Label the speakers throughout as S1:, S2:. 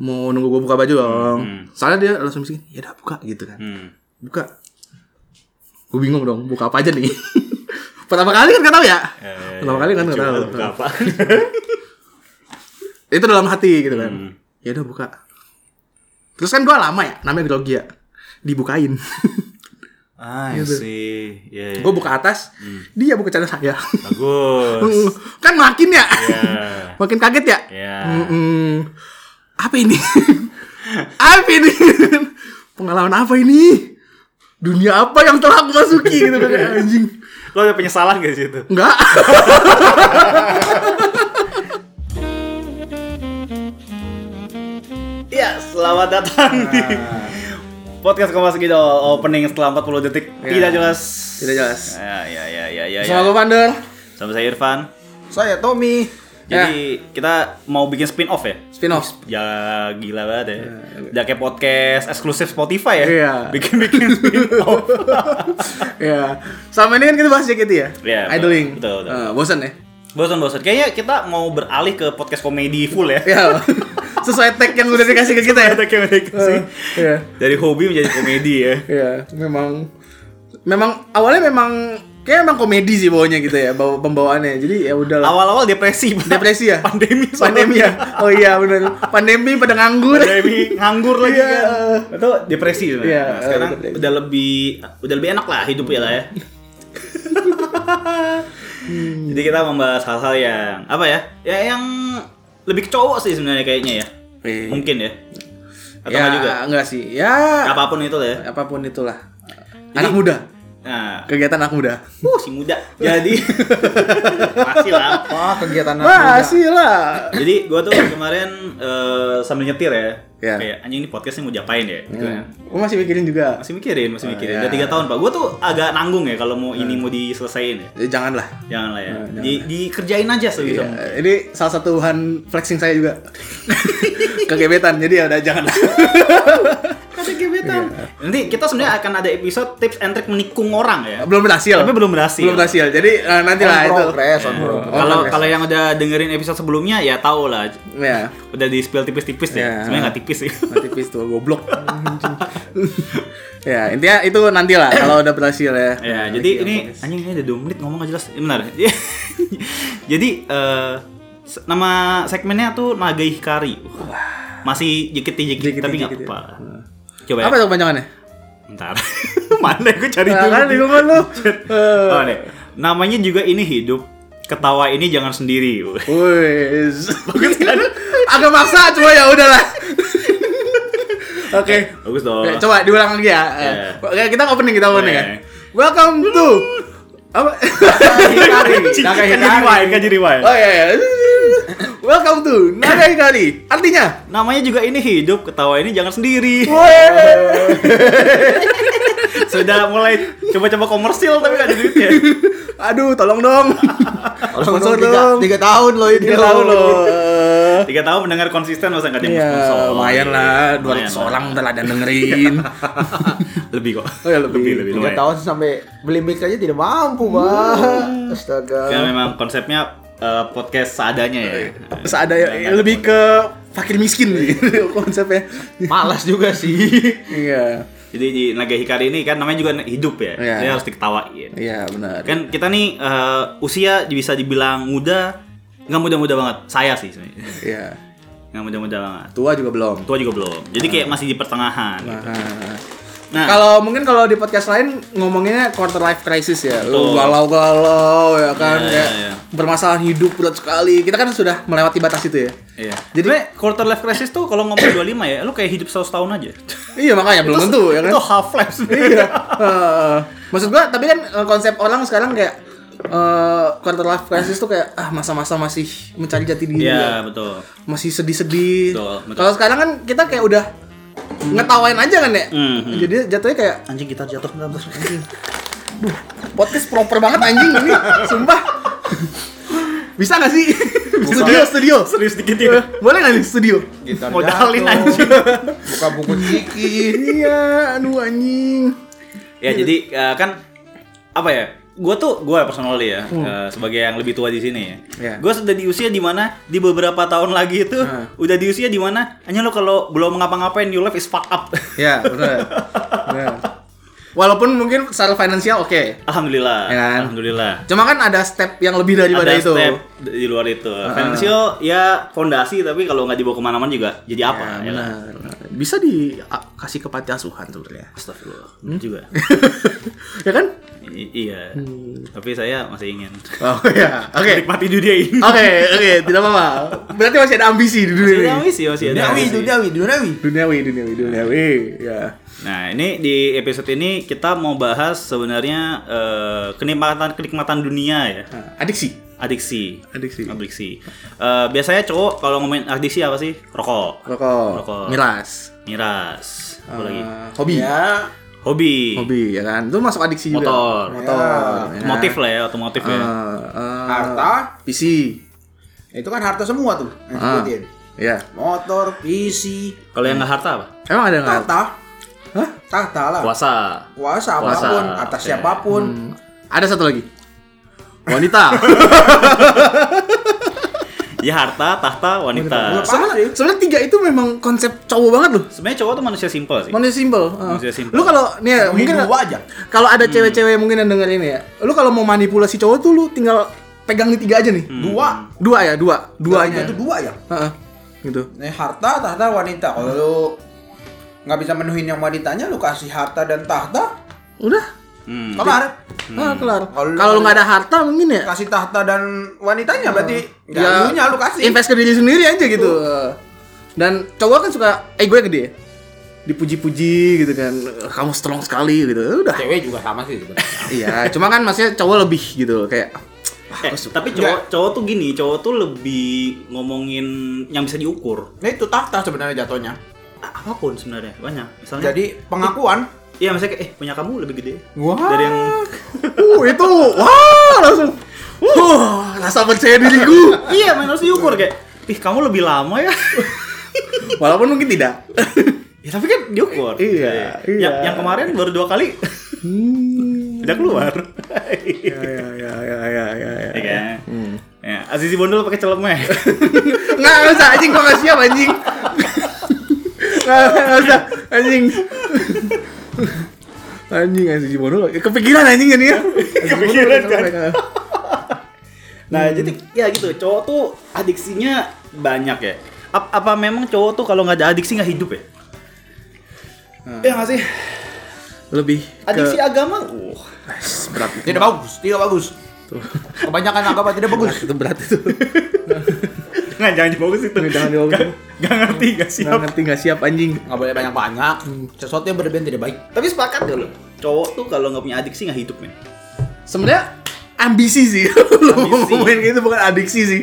S1: mau nunggu gue buka baju dong. Soalnya dia langsung miskin, ya udah buka gitu kan.
S2: Hmm.
S1: Buka. Gue bingung dong, buka apa aja nih. Pertama kali kan gak tahu ya. Pertama kali kan gak
S2: Coba
S1: tahu.
S2: buka Eh, apa?
S1: Itu dalam hati gitu kan. Ya udah buka. Terus kan gue lama ya, namanya grogi ya. Dibukain.
S2: Ah,
S1: Gitu.
S2: sih. Ya, ya.
S1: gue buka atas, dia buka celana saya.
S2: Bagus.
S1: kan makin ya.
S2: Ya.
S1: makin kaget ya.
S2: Ya.
S1: Mm-mm. Apa ini? apa ini? Pengalaman apa ini? Dunia apa yang telah aku masuki gitu kan anjing.
S2: Lo ada penyesalan gak di situ?
S1: Enggak.
S2: Ya, selamat datang di podcast Kompas Gidol opening setelah 40 detik tidak jelas.
S1: Ya. Tidak jelas.
S2: Ya, ya, ya, ya, ya.
S1: Sama
S2: ya.
S1: gue Vander.
S2: Sama saya Irfan.
S3: Saya Tommy.
S1: Ya.
S2: Jadi kita mau bikin spin off ya.
S1: Spin off.
S2: Ya gila banget ya. Udah kayak podcast eksklusif Spotify ya.
S1: Iya.
S2: Bikin-bikin spin off.
S1: ya. Sama ini kan kita bahas JKT ya.
S2: Iya, betul.
S1: Idling.
S2: Betul, betul.
S1: Eh, bosan ya.
S2: Bosan-bosan. Kayaknya kita mau beralih ke podcast komedi full ya.
S1: Ya. Sesuai tag yang udah dikasih ke kita ya.
S2: Ada kayak mereka sih.
S1: Eh, Iya.
S2: Dari hobi menjadi komedi ya.
S1: Iya, memang memang awalnya memang kayak emang komedi sih bawanya gitu ya, bawa pembawaannya. Jadi ya udahlah.
S2: Awal-awal depresi. Pak.
S1: Depresi ya?
S2: Pandemi. soalnya.
S1: pandemi ya oh iya benar pandemi pada nganggur
S2: pandemi nganggur lagi
S1: Iya.
S2: kan itu depresi sebenarnya.
S1: Iya,
S2: Nah, sekarang
S1: betul,
S2: udah lebih udah lebih enak lah hidupnya lah ya
S1: Hmm.
S2: jadi kita membahas hal-hal yang apa ya ya yang lebih ke cowok sih sebenarnya kayaknya ya
S1: Iya.
S2: mungkin ya atau
S1: ya
S2: nggak juga
S1: enggak sih ya
S2: apapun itu lah ya
S1: apapun itulah anak muda
S2: nah
S1: kegiatan anak muda
S2: uh, si muda jadi masih lah
S3: Wah, Ah, kegiatan anak
S1: wah
S3: muda.
S1: sih lah
S2: Jadi gua tuh kemarin eh, sambil nyetir ya,
S1: Iya.
S2: kayak anjing ini podcastnya mau diapain ya, gitu ya.
S1: Gua masih mikirin juga
S2: Masih mikirin, masih mikirin.
S1: iya.
S2: Udah tiga tahun pak, gua tuh agak nanggung ya kalau mau ini mau diselesain ya.
S1: Ya, janganlah
S2: Jangan lah ya, Di, dikerjain aja gitu. sebisa mungkin.
S1: Iya, ini salah satu bahan flexing saya juga kegebetan jadi ya udah janganlah
S2: Ada gebetan.
S1: Iya.
S2: Nanti kita sebenarnya akan ada episode tips and trick menikung orang ya.
S1: belum berhasil
S2: Tapi belum berhasil.
S1: belum berhasil Oh, jadi eh, nanti lah
S3: On
S1: itu
S3: progress, on progress.
S2: Kalau kalau yang udah dengerin episode sebelumnya ya tau lah,
S1: ya
S2: udah di spill tipis-tipis
S1: Iya.
S2: ya. Sebenarnya nggak tipis sih.
S1: Nah, tipis tuh goblok ya intinya itu nanti lah kalau udah berhasil ya
S2: Ya, jadi ini anjing ini ada 2 menit ngomong gak jelas. Ya, benar. jadi eh, se- nama segmennya tuh Naga Hikari. Wah, Masih jikiti-jikiti
S1: Jikiti-jikiti.
S2: tapi nggak apa-apa. Coba
S1: Nah. apa
S2: ya.
S1: tuh kepanjangannya
S2: Bentar. Mana gue cari
S1: Nah,
S2: dulu.
S1: kan bingung kan lu. Eh,
S2: Oh, nih. Namanya juga ini hidup. Ketawa ini jangan sendiri.
S1: Wih, bagus kan? Agak maksa, cuma ya udahlah. Oke,
S2: Bagus dong.
S1: Oke, Eh, coba diulang lagi ya. Eh, Oke, Kita opening, kita opening
S2: Iya.
S1: ya. Welcome to apa?
S3: Hikari.
S2: Anjing,
S3: Naga
S2: kan jadi
S3: Hikari.
S2: rewind, kan jadi rewind.
S1: oh iya, iya. Welcome to Naga Hikari. Artinya,
S2: Namanya juga ini hidup. Ketawa ini jangan sendiri.
S1: woi,
S2: Sudah mulai coba-coba komersil tapi gak ada duitnya.
S1: aduh, tolong dong. Sponsor
S3: Sponsor tiga,
S1: dong.
S3: tiga tahun loh ini.
S1: Tiga tahun loh. Eh,
S2: Tiga tahun mendengar konsisten masa nggak ada yang
S1: Iya,
S2: sponsor.
S1: lumayan lah,
S2: Lumayan
S1: 200
S2: lah.
S1: orang udah lah ada dengerin.
S2: lebih kok.
S1: Oh ya, lebih.
S2: iya, lebih,
S3: Tiga
S2: lumayan.
S3: tahun sampai beli mic aja tidak mampu, Bang.
S2: Ya
S3: Astaga.
S2: memang konsepnya eh, podcast seadanya ya.
S1: Seada
S2: Jangan
S1: lebih ke fakir miskin gitu konsepnya.
S3: Malas juga sih.
S1: Iya.
S2: Jadi di Naga Hikari ini kan namanya juga hidup ya.
S1: Iya.
S2: Jadi harus diketawain.
S1: Iya, benar.
S2: Kan kita nih eh, usia bisa dibilang muda, nggak muda-muda banget. Saya sih sebenarnya.
S1: Iya.
S2: Nggak muda-muda banget.
S1: Tua juga belum.
S2: Tua juga belum. Jadi kayak masih di pertengahan. gitu.
S1: Nah.
S2: Nah,
S1: Kalau mungkin kalau di podcast lain ngomonginnya quarter life crisis ya. Lu
S2: Betul.
S1: galau-galau ya kan
S2: Iya,
S1: kayak
S2: iya, iya.
S1: bermasalah hidup berat sekali. Kita kan sudah melewati batas itu ya.
S2: iya.
S1: Jadi-
S2: Jadi quarter life crisis tuh kalau ngomong 25 ya, lu kayak hidup 100 tahun aja.
S1: Iya, makanya belum tentu ya kan.
S2: Itu half life
S1: Iya.
S2: sebenarnya.
S1: Heeh. maksud gua tapi kan eh, konsep orang sekarang kayak eh, quarter life crisis tuh kayak ah masa-masa masih mencari jati diri. ya.
S2: Iya, betul.
S1: masih sedih-sedih.
S2: Betul, betul.
S1: Kalau sekarang kan kita kayak udah ngetawain aja kan ya.
S2: Mhm.
S1: Jadi jatuhnya kayak
S3: Anjing kita jatuh nggak bos anjing.
S1: podcast proper banget anjing ini, sumpah. Bisa gak sih? studio, studio.
S2: Serius dikit
S1: Eh, Boleh gak nih studio?
S3: Gitar
S2: Modalin
S3: jatuh.
S2: anjing.
S3: Buka buku ciki.
S1: Iya, aduh anjing.
S2: Ya jadi eh, kan apa ya? gue tuh gue personally ya
S1: Hmm.
S2: eh, sebagai yang lebih tua di sini ya
S1: Iya.
S2: gue sudah di usia dimana di beberapa tahun lagi itu
S1: Hmm.
S2: udah di usia dimana hanya lo kalau belum ngapa-ngapain your life is fucked up
S1: Ya, benar. Benar. Walaupun mungkin secara finansial oke.
S2: alhamdulillah
S1: Ya kan?
S2: alhamdulillah
S1: Cuma kan ada step yang lebih daripada
S2: ada
S1: itu.
S2: step d- di luar itu financial ya fondasi tapi kalau nggak dibawa kemana-mana juga jadi apa
S1: Ya,
S2: ya kan?
S1: benar. Bisa dikasih ke panti asuhan sebenarnya.
S2: Astagfirullah
S1: Hmm?
S2: bener juga
S1: ya kan?
S2: I- iya tapi saya masih ingin
S1: Oh ya. Hmm. Oke.
S2: menikmati dunia ini
S1: Oke, oke, tidak apa-apa. Berarti masih ada ambisi di dunia ini.
S2: Duniawi sih masih ada
S3: Duniawi,
S2: sih.
S3: duniawi, duniawi.
S1: Duniawi, duniawi, duniawi. Ya.
S2: Nah, ini di episode ini kita mau bahas sebenarnya eh, kenikmatan kenikmatan dunia ya.
S1: Nah, Adiksi.
S2: Adiksi.
S1: Adiksi.
S2: Adiksi. Eh, biasanya cowok kalau ngomongin adiksi apa sih? Rokok,
S1: Rokok.
S2: Rokok.
S1: Miras.
S2: miras, apa lagi?
S1: Eh, hobi.
S3: Ya,
S2: Hobi.
S1: Hobi ya kan. Itu masuk adiksi juga.
S2: Motor.
S1: Motor. ya kan?
S2: Otomotif lah ya, otomotif ya.
S1: Eh, eh,
S3: harta,
S1: PC.
S3: itu kan harta semua tuh. yang
S1: Ah.
S3: disebutin.
S1: Ya.
S3: Motor, PC,
S2: Kalau yang nggak harta apa?
S1: Emang ada nggak?
S3: tahta.
S1: Nah. Hah?
S3: Tahta lah.
S2: Kuasa.
S3: Kuasa
S2: Kuasa,
S3: apapun, atas
S2: oke.
S3: siapapun.
S1: Hmm. Ada satu lagi. Wanita.
S2: Ya harta, tahta, wanita.
S3: Lepas sih.
S1: Soalnya, soalnya tiga itu memang konsep cowok banget loh.
S2: Sebenarnya cowok tuh manusia simpel sih.
S1: Manusia simpel.
S2: Manusia simpel.
S1: Lu kalau nih ya,
S3: Mungkin
S1: mungkin
S3: dua aja.
S1: kalau ada cewek-cewek mungkin yang denger ini ya. Lu kalau mau manipulasi cowok tuh lu tinggal pegang di tiga aja nih.
S3: Dua.
S1: Dua ya, dua. Dua aja.
S3: Itu dua ya.
S1: Heeh. Gitu.
S3: Nih harta, tahta, wanita. Kalau lu nggak bisa menuhin yang wanitanya, lu kasih harta dan tahta,
S1: Udah.
S2: Hmm.
S3: kelar.
S1: Ah, kelar.
S3: Kalau lu-
S1: Kalau lu nggak ada harta mungkin ya.
S3: Kasih tahta dan wanitanya berarti ya, lu kasih.
S1: invest ke diri sendiri aja gitu dan cowok kan suka ego gue gede dipuji-puji gitu kan kamu strong sekali gitu Ya udah
S4: Cewek juga sama sih sebenarnya.
S1: iya cuma kan maksudnya cowok lebih gitu kayak "Wah,
S2: Eh,
S1: gua suka."
S2: tapi cowok cowok tuh gini, cowok tuh lebih ngomongin yang bisa diukur.
S3: Nah itu tahta sebenarnya jatuhnya.
S2: A- apapun sebenarnya banyak. Misalnya
S3: Jadi pengakuan.
S2: Iya misalnya kayak, eh punya kamu lebih gede
S3: Wah.
S2: dari yang
S1: uh itu wah langsung wah rasa percaya diriku
S2: iya main harus diukur kayak ih kamu lebih lama ya
S1: walaupun mungkin tidak
S2: ya tapi kan diukur
S1: Iya,
S2: Yang-
S1: iya.
S2: yang kemarin baru dua kali udah keluar
S1: ya ya ya ya ya ya, ya.
S2: ya kan ya Azizi Bondol pakai celemeh
S1: nggak nggak usah anjing gua nggak siap anjing nggak nggak usah anjing anjing anjing gimana lo kepikiran anjing jadi ya kepikiran kan
S2: nah jadi ya gitu cowok tuh adiksinya banyak ya Ap- apa memang cowok tuh kalau nggak ada adiksi nggak hidup ya ya nggak sih
S1: lebih
S2: adiksi
S1: ke
S2: agama uh.
S1: Ais, berat itu
S3: Tidak bagus, tidak bagus. Kebanyakan agama tidak bagus.
S1: itu berat itu
S2: nggak jangan dibagus itu
S1: Nggak, jangan dibagus.
S2: Nggak- nggak ngerti nggak
S1: nggak
S2: siap
S1: ngerti nggak siap anjing
S3: Nggak boleh banyak-banyak. Sesuatu yang berlebihan tidak baik.
S2: Tapi sepakat gak lo? Cowok tuh kalau nggak punya adiksi nggak hidup men.
S1: sebenarnya ambisi sih lo mau
S2: Ambisi.
S1: ngomongin gitu bukan adiksi sih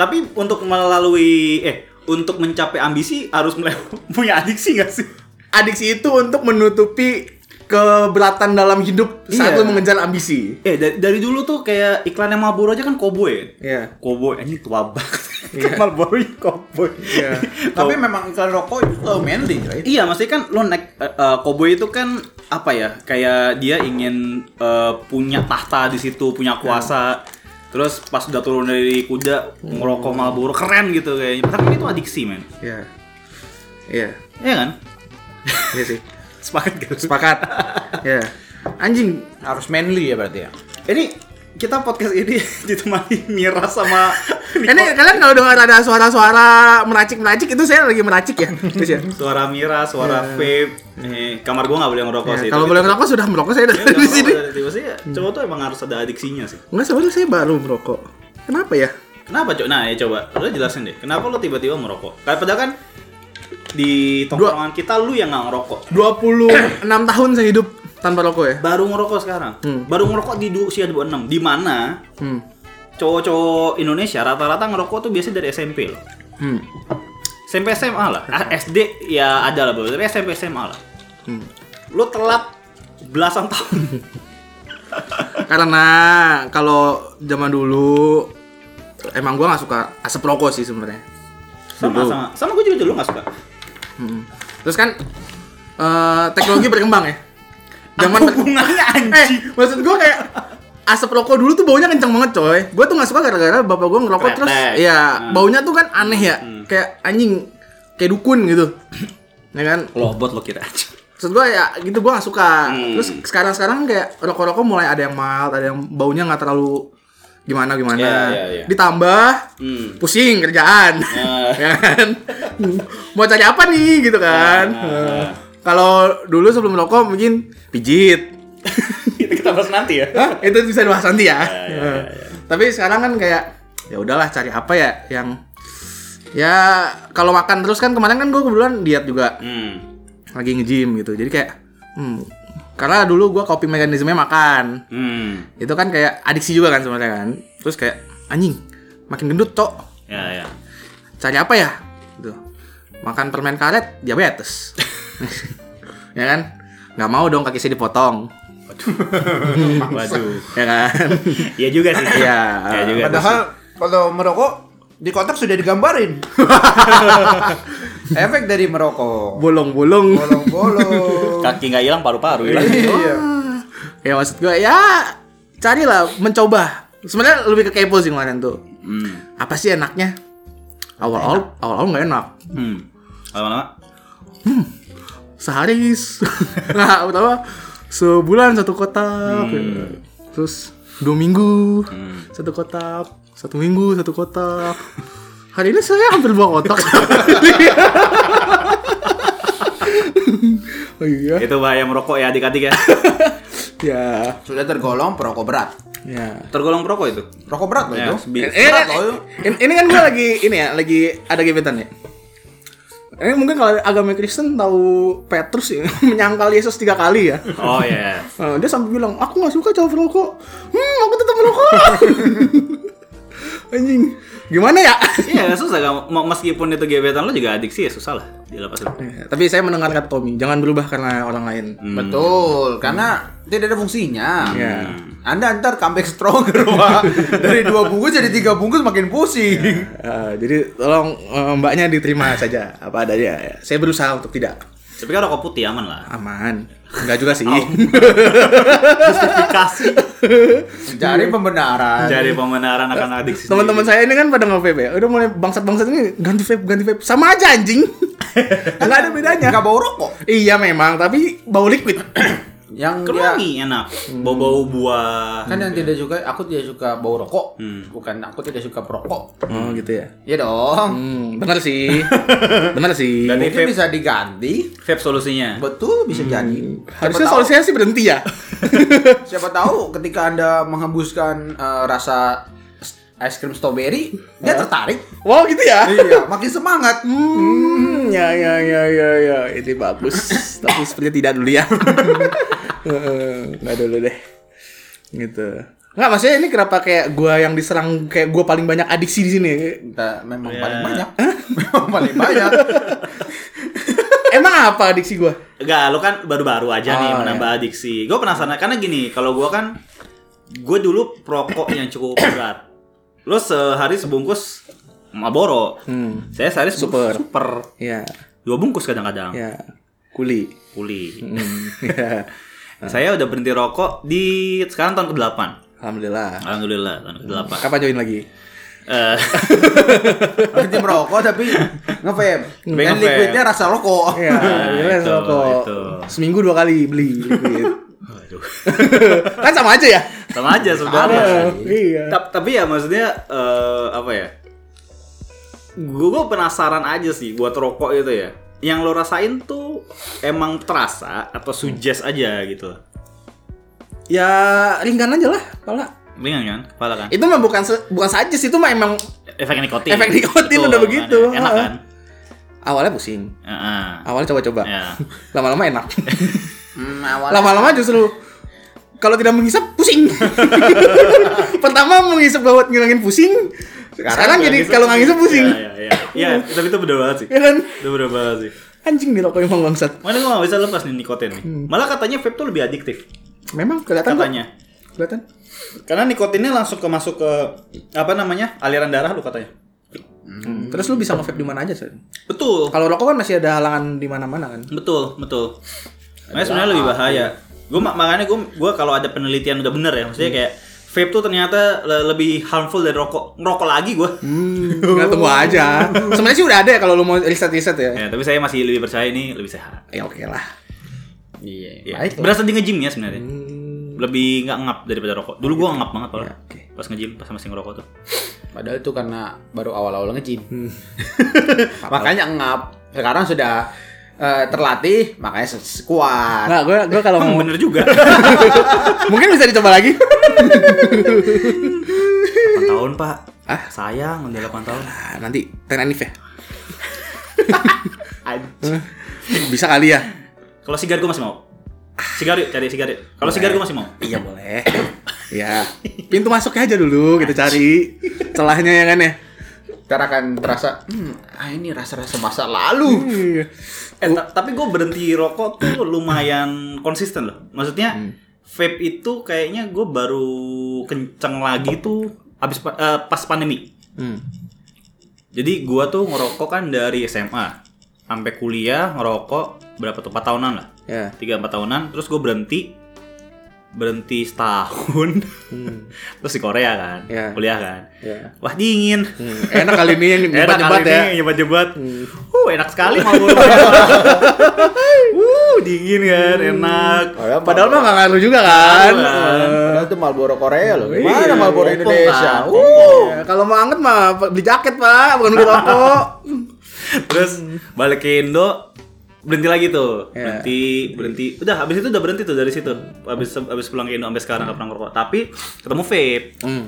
S2: Tapi untuk melalui eh untuk mencapai ambisi harus mulai punya adiksi nggak sih?
S1: adiksi itu untuk menutupi keberatan dalam hidup saat
S2: Iya.
S1: lo mengejar ambisi
S2: Eh dari, dari dulu tuh kayak iklan yang Marlboro aja kan koboi.
S1: Iya.
S2: Koboi ini tua banget. Kan Marlboro ini koboi.
S1: Iya.
S3: Tapi memang iklan rokok itu terlalu manly, right?
S2: Iya, maksudnya kan lo naik eh, eh, koboi itu kan apa ya? Kayak dia ingin eh, punya tahta di situ, punya kuasa. Terus pas udah turun dari kuda ngerokok Marlboro keren gitu kayaknya. Tapi itu adiksi, men.
S1: ya ya
S2: Iya kan?
S1: iya sih
S2: Sepakat gak?
S1: Sepakat. ya. Anjing.
S3: Harus manly ya berarti ya.
S2: Ini kita podcast ini ditemani Mira sama
S1: Ini kalian kalau dengar ada suara-suara meracik-meracik itu saya lagi meracik ya. Terus ya.
S2: suara Mira, suara vape. Eh, kamar gua nggak boleh ngerokok
S1: Ya,
S2: sih.
S1: Iya.
S2: Iya,
S1: kalau boleh ngerokok sudah merokok Iya, saya dari di sini.
S2: Maksudnya cowok tuh emang harus ada adiksinya sih.
S1: Enggak sebenarnya saya baru merokok. Kenapa ya?
S2: Kenapa, Cok? Nah, ya coba lu jelasin deh. Kenapa lu tiba-tiba merokok? Kayak padahal kan di tongkrongan kita lu yang nggak ngerokok.
S1: 26 tahun saya hidup tanpa rokok ya.
S2: Baru ngerokok sekarang. Baru ngerokok di du- usia 26. Di mana
S1: Hmm.
S2: cowok-cowok Indonesia rata-rata ngerokok tuh biasa dari SMP loh.
S1: Hmm.
S2: SMP SMA lah A- SD ya ada lah bro tapi SMP SMA lah
S1: Hmm.
S2: lu telat belasan tahun
S1: Karena kalau zaman dulu emang gua nggak suka asap rokok sih sebenarnya.
S2: sama
S1: Dulu.
S2: sama sama gue juga dulu nggak suka
S1: Hmm. Terus kan eh, teknologi berkembang ya.
S2: Apa hubungannya
S1: Eh,
S2: anjing
S1: maksud gua kayak asap rokok dulu tuh baunya kencang banget coy gue tuh nggak suka gara-gara bapak gue ngerokok
S2: Kretek.
S1: terus ya
S2: Hmm.
S1: baunya tuh kan aneh ya kayak anjing kayak dukun gitu ya kan
S2: Lobot lo kira aja.
S1: Maksud gue ya gitu gue gak suka
S2: Hmm.
S1: Terus sekarang-sekarang kayak rokok-rokok mulai ada yang mild Ada yang baunya gak terlalu gimana-gimana
S2: Iya, iya, iya.
S1: Ditambah
S2: Hmm.
S1: pusing kerjaan
S2: Ah.
S1: Ya kan Mau cari apa nih gitu kan
S2: Ah, ah, ah.
S1: Kalau dulu sebelum rokok mungkin pijit
S2: Itu kita bahas nanti ya.
S1: Hah? Itu bisa dibahas nanti ya,
S2: iya, iya, iya.
S1: Tapi sekarang kan kayak ya udahlah cari apa ya yang Ya kalau makan terus kan kemarin kan gue kebetulan diet juga
S2: Hmm.
S1: lagi nge-gym gitu. Jadi kayak hmm, karena dulu gua coping mekanismenya makan.
S2: Hmm.
S1: Itu kan kayak adiksi juga kan sebenarnya kan. Terus kayak anjing, makin gendut, Cok.
S2: Ya ya.
S1: Cari apa ya? Gitu. Makan permen karet diabetes. ya kan? nggak mau dong kaki saya dipotong.
S2: Waduh.
S1: Ya kan?
S2: Iya juga sih.
S1: Iya.
S2: Iya juga.
S3: Padahal kalau merokok di kotak sudah digambarin. Efek dari merokok.
S1: Bolong-bolong.
S3: Bolong-bolong.
S2: kaki nggak hilang paru-paru hilang.
S3: iya.
S1: ya maksud gua ya carilah mencoba. Sebenarnya lebih ke kepo sih kemarin tuh.
S2: Hmm.
S1: Apa sih enaknya? Awal-awal awal-awal nggak enak.
S2: Hmm. Lama-lama.
S1: sehari s- nah utama sebulan satu kotak terus dua minggu satu kotak satu minggu satu kotak hari ini saya hampir dua kotak oh iya
S2: Itu bahaya merokok ya adik-adik ya.
S1: ya
S3: Sudah tergolong perokok berat.
S1: ya
S2: Tergolong perokok itu.
S3: Rokok berat loh
S2: Ya,
S3: itu.
S2: sebi-
S1: Eh,
S3: Berat loh itu.
S1: ini, ini kan gue lagi ini ya lagi ada gebetan ya ini mungkin kalau agama Kristen tahu Petrus ya, menyangkal Yesus tiga kali ya
S2: Oh ya.
S1: Nah, dia sampai bilang, aku gak suka cowok merokok. Hmm, aku tetap merokok. Anjing, gimana ya?
S2: Iya susah kan. Mau- Meskipun itu gebetan lo juga adik sih ya susah lah. Dilepas dulu.
S1: Tapi saya mendengar kata Tommy, jangan berubah karena orang lain.
S3: Betul, karena tidak ada fungsinya.
S1: Iya.
S3: Anda ntar comeback stronger, Pak. Dari dua bungkus jadi tiga bungkus makin pusing.
S1: Eh, jadi tolong eh, mbaknya diterima saja apa adanya. ya. Saya berusaha untuk tidak
S2: Tapi kan rokok putih aman lah.
S1: aman. Enggak juga sih.
S3: Oh.
S2: Dikasih.
S3: Cari pembenaran.
S2: Jadi pembenaran akan adik sendiri.
S1: Teman-teman saya ini kan pada nge vape ya. Udah mulai bangsat-bangsat ini ganti vape, ganti vape. Sama aja anjing. Enggak ada bedanya.
S3: Nggak bau rokok.
S1: Iya memang, tapi bau liquid.
S3: Yang
S2: Kan
S3: dia
S2: wangi enak. Bau-bau buah.
S3: kan yang tidak suka, aku tidak suka bau rokok.
S2: Hmm.
S3: Bukan aku tidak suka perokok.
S1: oh gitu ya.
S3: Ya dong.
S1: Hmm, benar sih. benar sih.
S2: Dan
S3: Mungkin
S2: vape.
S3: bisa diganti.
S2: Vape solusinya.
S3: Betul, bisa jadi.
S1: Hmm. Harusnya
S3: Siapa tahu-
S1: solusinya sih berhenti ya.
S3: Siapa tahu ketika Anda menghembuskan eh, rasa s- es krim strawberry, dia tertarik.
S1: wow gitu ya.
S3: iya, makin
S1: Eh.
S3: semangat.
S1: Hmm, ya ya ya ya ya, ini bagus. Tapi sepertinya tidak dulu ya. Heeh, Nggak dulu deh. Gitu. Nggak maksudnya ini kenapa kayak gua yang diserang kayak gua paling banyak adiksi di sini.
S3: Kita
S1: Iya.
S3: memang
S2: Ya.
S3: paling banyak.
S1: Eh?
S3: memang paling banyak.
S1: Emang apa adiksi gua?
S2: Enggak, lo kan baru-baru aja nih
S1: Oh,
S2: menambah adiksi. Gue penasaran karena gini, kalau gue kan gue dulu perokok yang cukup berat. Lo sehari sebungkus Marlboro.
S1: Hmm.
S2: Saya sehari
S1: Super.
S2: sebungkus super.
S1: Ya,
S2: Dua bungkus kadang-kadang.
S1: ya. Kuli.
S2: Kuli.
S1: Hmm, ya.
S2: Saya udah berhenti rokok di sekarang tahun ke-8.
S1: Alhamdulillah.
S2: Alhamdulillah tahun ke-8.
S1: Kapan join lagi?
S2: Eh,
S3: Berhenti merokok tapi nge-vape.
S2: Tapi
S3: Dan
S2: nge-vape.
S3: liquidnya rasa rokok.
S1: Ya, gila,
S2: Ah, itu,
S1: rokok.
S2: itu.
S1: Seminggu dua kali beli. gitu.
S2: aduh.
S1: kan sama aja ya?
S2: Sama aja sebenarnya.
S1: Ada, Iya.
S2: Ta- tapi ya maksudnya eh, apa ya? Gue penasaran aja sih buat rokok itu ya. Yang lo rasain tuh emang terasa atau suggest aja gitu.
S1: ya ringan aja lah pala
S2: Ringan kan? Kepala kan?
S1: itu mah bukan se- bukan saja sih itu mah emang
S2: Efek nikotin.
S1: Efek nikotin
S2: Betul,
S1: udah begitu.
S2: kan? Enak kan?
S1: awalnya pusing
S2: Heeh.
S1: awalnya coba-coba
S2: Ya.
S1: lama-lama enak
S3: Hmm, awalnya
S1: lama-lama justru kalau tidak menghisap pusing pertama menghisap buat ngilangin pusing sekarang, jadi
S2: Nggak bisa
S1: kalau nggak ngisap pusing
S2: gitu Iya, iya, iya. Ya, tapi itu bener banget sih.
S1: ya kan
S2: Itu bener banget sih.
S1: anjing nih rokok emang bangsat
S2: Mana gue gak bisa lepas nih nikotin nih.
S1: Hmm.
S2: Malah katanya vape tuh lebih adiktif.
S1: memang kelihatan kok.
S2: Katanya.
S1: kelihatan
S2: Karena nikotinnya langsung ke masuk ke apa namanya? aliran darah lu katanya.
S1: terus lu bisa nge-vape di mana aja sih
S2: Betul.
S1: kalau rokok kan masih ada halangan di mana-mana kan
S2: Betul, betul. Makanya sebenarnya lebih bahaya. Gue makanya gue gue kalau ada penelitian udah bener ya, maksudnya kayak vape tuh ternyata le- lebih harmful dari rokok. Ngerokok lagi gua.
S1: Nggak tunggu aja. Sebenarnya sih udah ada ya kalau lu mau riset-riset ya.
S2: Ya, tapi saya masih lebih percaya ini lebih sehat.
S1: Ya oke lah.
S3: Iya.
S2: Ya.
S3: Baik.
S2: Berasa di nge-gym ya sebenarnya. Lebih nggak ngap daripada rokok. Dulu gua ngap banget kalau
S1: Ya, oke.
S2: pas nge-gym pas masih ngerokok tuh.
S3: Padahal itu karena baru awal-awal ngejin. makanya ngap. Sekarang sudah eh, terlatih, makanya se- kuat.
S1: Nggak, gue gue kalau
S2: Hmm,
S1: mau
S2: bener juga.
S1: mungkin bisa dicoba lagi.
S2: 8 tahun, Pak.
S1: Hah?
S2: Sayang udah 8 tahun.
S1: Ah, nanti Tenanif ya.
S3: Anjing.
S1: Bisa kali ya.
S2: Kalau sigar gua masih mau. Sigar yuk, cari sigar yuk. Kalau sigar gua masih mau.
S1: Iya boleh. ya. Pintu masuknya aja dulu kita cari celahnya ya kan ya.
S3: Ntar akan terasa, hmm, ah ini rasa-rasa masa lalu.
S2: Eh, ta- tapi gue berhenti rokok tuh lumayan konsisten loh. Maksudnya
S1: Hmm.
S2: vape itu kayaknya gue baru kenceng lagi tuh abis pa- eh, pas pandemi.
S1: Hmm.
S2: Jadi gue tuh ngerokok kan dari SMA sampai kuliah ngerokok berapa tuh 4 tahunan lah.
S1: Ya.
S2: 3 4 tahunan terus gue berhenti berhenti setahun. terus di Korea kan,
S1: Hmm. Ya.
S2: kuliah kan.
S1: Ya.
S2: Wah, dingin.
S1: Hmm, Enak kali ini yang
S2: Enak
S1: nyebat-nyebat
S2: kali
S1: ya.
S2: Eh, ini nyebat-nyebat. Uh, enak sekali Marlboro. uh, dingin kan,
S1: Hmm.
S2: enak.
S3: Padahal
S1: Padahal mah nggak ngaruh juga kan.
S2: Kan.
S3: Padahal itu Marlboro Korea loh.
S1: Iya,
S3: Mana
S2: kopong,
S3: Marlboro
S2: Pak.
S3: Indonesia?
S2: Kopong.
S3: Uh.
S1: Ya, kalau mau anget mah beli jaket pak, bukan beli rokok.
S2: Terus balik ke Indo berhenti lagi tuh
S1: Ya.
S2: berhenti berhenti udah habis itu udah berhenti tuh dari situ habis habis pulang ke Indo sampai sekarang nggak pernah ngerokok tapi ketemu vape
S1: Hmm.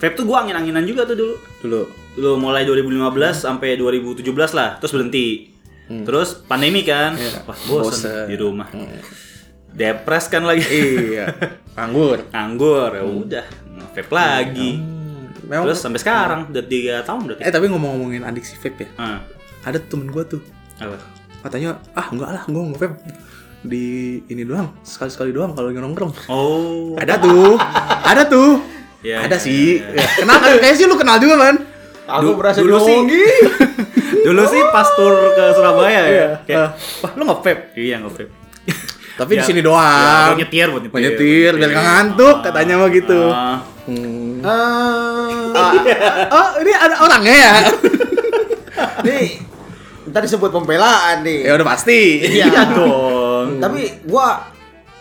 S2: vape tuh gua angin anginan juga tuh dulu
S1: Dulu.
S2: dulu mulai 2015 sampai 2017 lah terus berhenti terus pandemi kan
S1: Iya.
S2: wah bosen,
S1: Hmm. Bosen. Hmm.
S2: di rumah depres kan lagi
S1: Iya. Anggur.
S2: anggur ya
S1: Hmm.
S2: udah vape lagi
S1: Memang.
S2: terus sampai sekarang udah tiga tahun berarti
S1: eh tapi ngomong-ngomongin adiksi vape ya,
S2: Ah,
S1: ada tuh temen gue tuh
S2: apa?
S1: katanya ah enggak lah gue nggak vape di ini doang sekali-sekali doang kalau lagi nongkrong.
S2: oh
S1: Ada tuh, ada tuh,
S2: Iya,
S1: ada
S2: iya,
S1: sih. Ya,
S2: iya,
S1: Kenal kan? Kayaknya sih lu kenal juga kan?
S3: Aku
S2: Du-
S3: berasa
S2: dulu sih-
S3: dibohongi.
S2: dulu sih pas tur ke Surabaya ya
S1: Iya.
S2: kayak,
S1: Ah.
S2: wah lu nggak vape iya nggak vape
S1: Tapi di
S2: Ya.
S1: sini
S2: Ya, buat
S1: doang.
S2: nyetir buat nyetir
S1: Buat nyetir, biar nggak ngantuk, katanya mah gitu.
S2: Ah.
S1: Hmm.
S3: Ah,
S1: Ah, oh, ini ada orangnya ya?
S3: nih, ntar disebut pembelaan nih.
S1: ya udah pasti.
S2: iya dong
S3: Tapi gua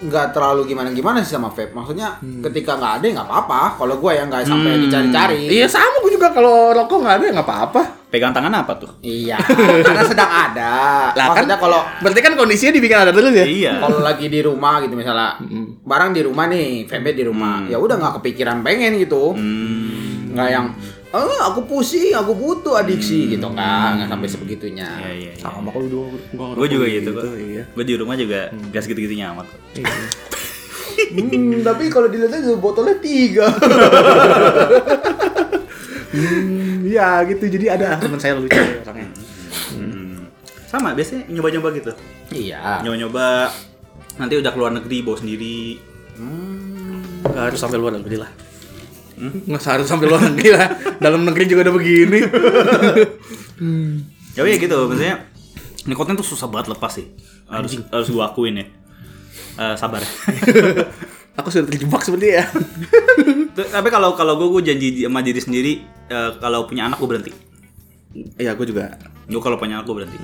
S3: nggak terlalu gimana-gimana sih sama vape. Maksudnya ketika nggak ada ya nggak apa-apa. Kalau gua yang nggak sampai
S2: Hmm.
S3: dicari-cari.
S1: Iya sama gue juga kalau rokok nggak ada ya nggak apa-apa.
S2: pegang tangan apa tuh
S3: Iya, karena sedang ada.
S1: Lah kan
S3: Maksudnya kalau
S1: berarti kan kondisinya dibikin ada terus ya?
S2: iya
S3: kalau lagi di rumah gitu misalnya barang di rumah nih, vape di rumah.
S2: Hmm.
S3: Ya udah nggak kepikiran pengen gitu.
S2: Hmm.
S3: Nggak yang "Ah, aku pusing, aku butuh adiksi gitu kan. Nggak sampai sebegitunya.
S2: iya iya iya.
S1: Sama kalau dua gua ngerokok
S2: gue juga gitu, kok
S1: Iya.
S2: gue di rumah juga gas gitu-gitu nyaman kok.
S3: Hmm, tapi kalau dilihat aja botolnya tiga.
S1: Hmm, Iya gitu jadi ada teman saya lucu ya orangnya.
S2: Hmm. sama biasanya nyoba-nyoba gitu
S3: iya.
S2: nyoba-nyoba nanti udah keluar negeri bawa sendiri
S1: Nggak harus sampai luar negeri lah. Nggak harus sampai luar negeri lah. Dalam negeri juga udah begini.
S2: ya iya gitu maksudnya nikotin tuh susah banget lepas sih harus harus gue akuin ya Eh, sabar
S1: Aku sudah terjebak seperti ya.
S2: Tuh, tapi kalau kalau gue gue janji di- sama diri sendiri eh, kalau punya anak gue berhenti
S1: Iya aku juga.
S2: gue kalau punya anak gue berhenti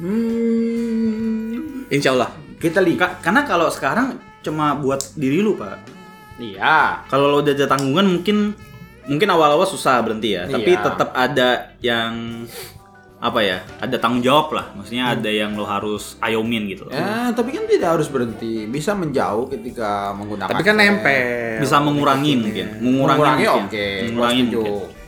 S3: Hmm,
S1: Insya Allah.
S3: kita lihat.
S2: Ka- karena kalau sekarang cuma buat diri lu pak
S3: Iya.
S2: kalau lo udah ada tanggungan mungkin mungkin awal-awal susah berhenti ya tapi
S3: Iya.
S2: tetap ada yang apa ya ada tanggung jawab lah maksudnya ada yang lo harus ayomin gitu loh.
S3: Ya, tapi kan tidak harus berhenti. Bisa menjauh ketika menggunakan.
S1: Tapi kan
S3: vape.
S1: nempel.
S2: bisa mengurangi mungkin mengurangi,
S3: Mengurangi
S2: mungkin.
S3: oke. gua
S2: mengurangi
S3: setuju.
S2: mungkin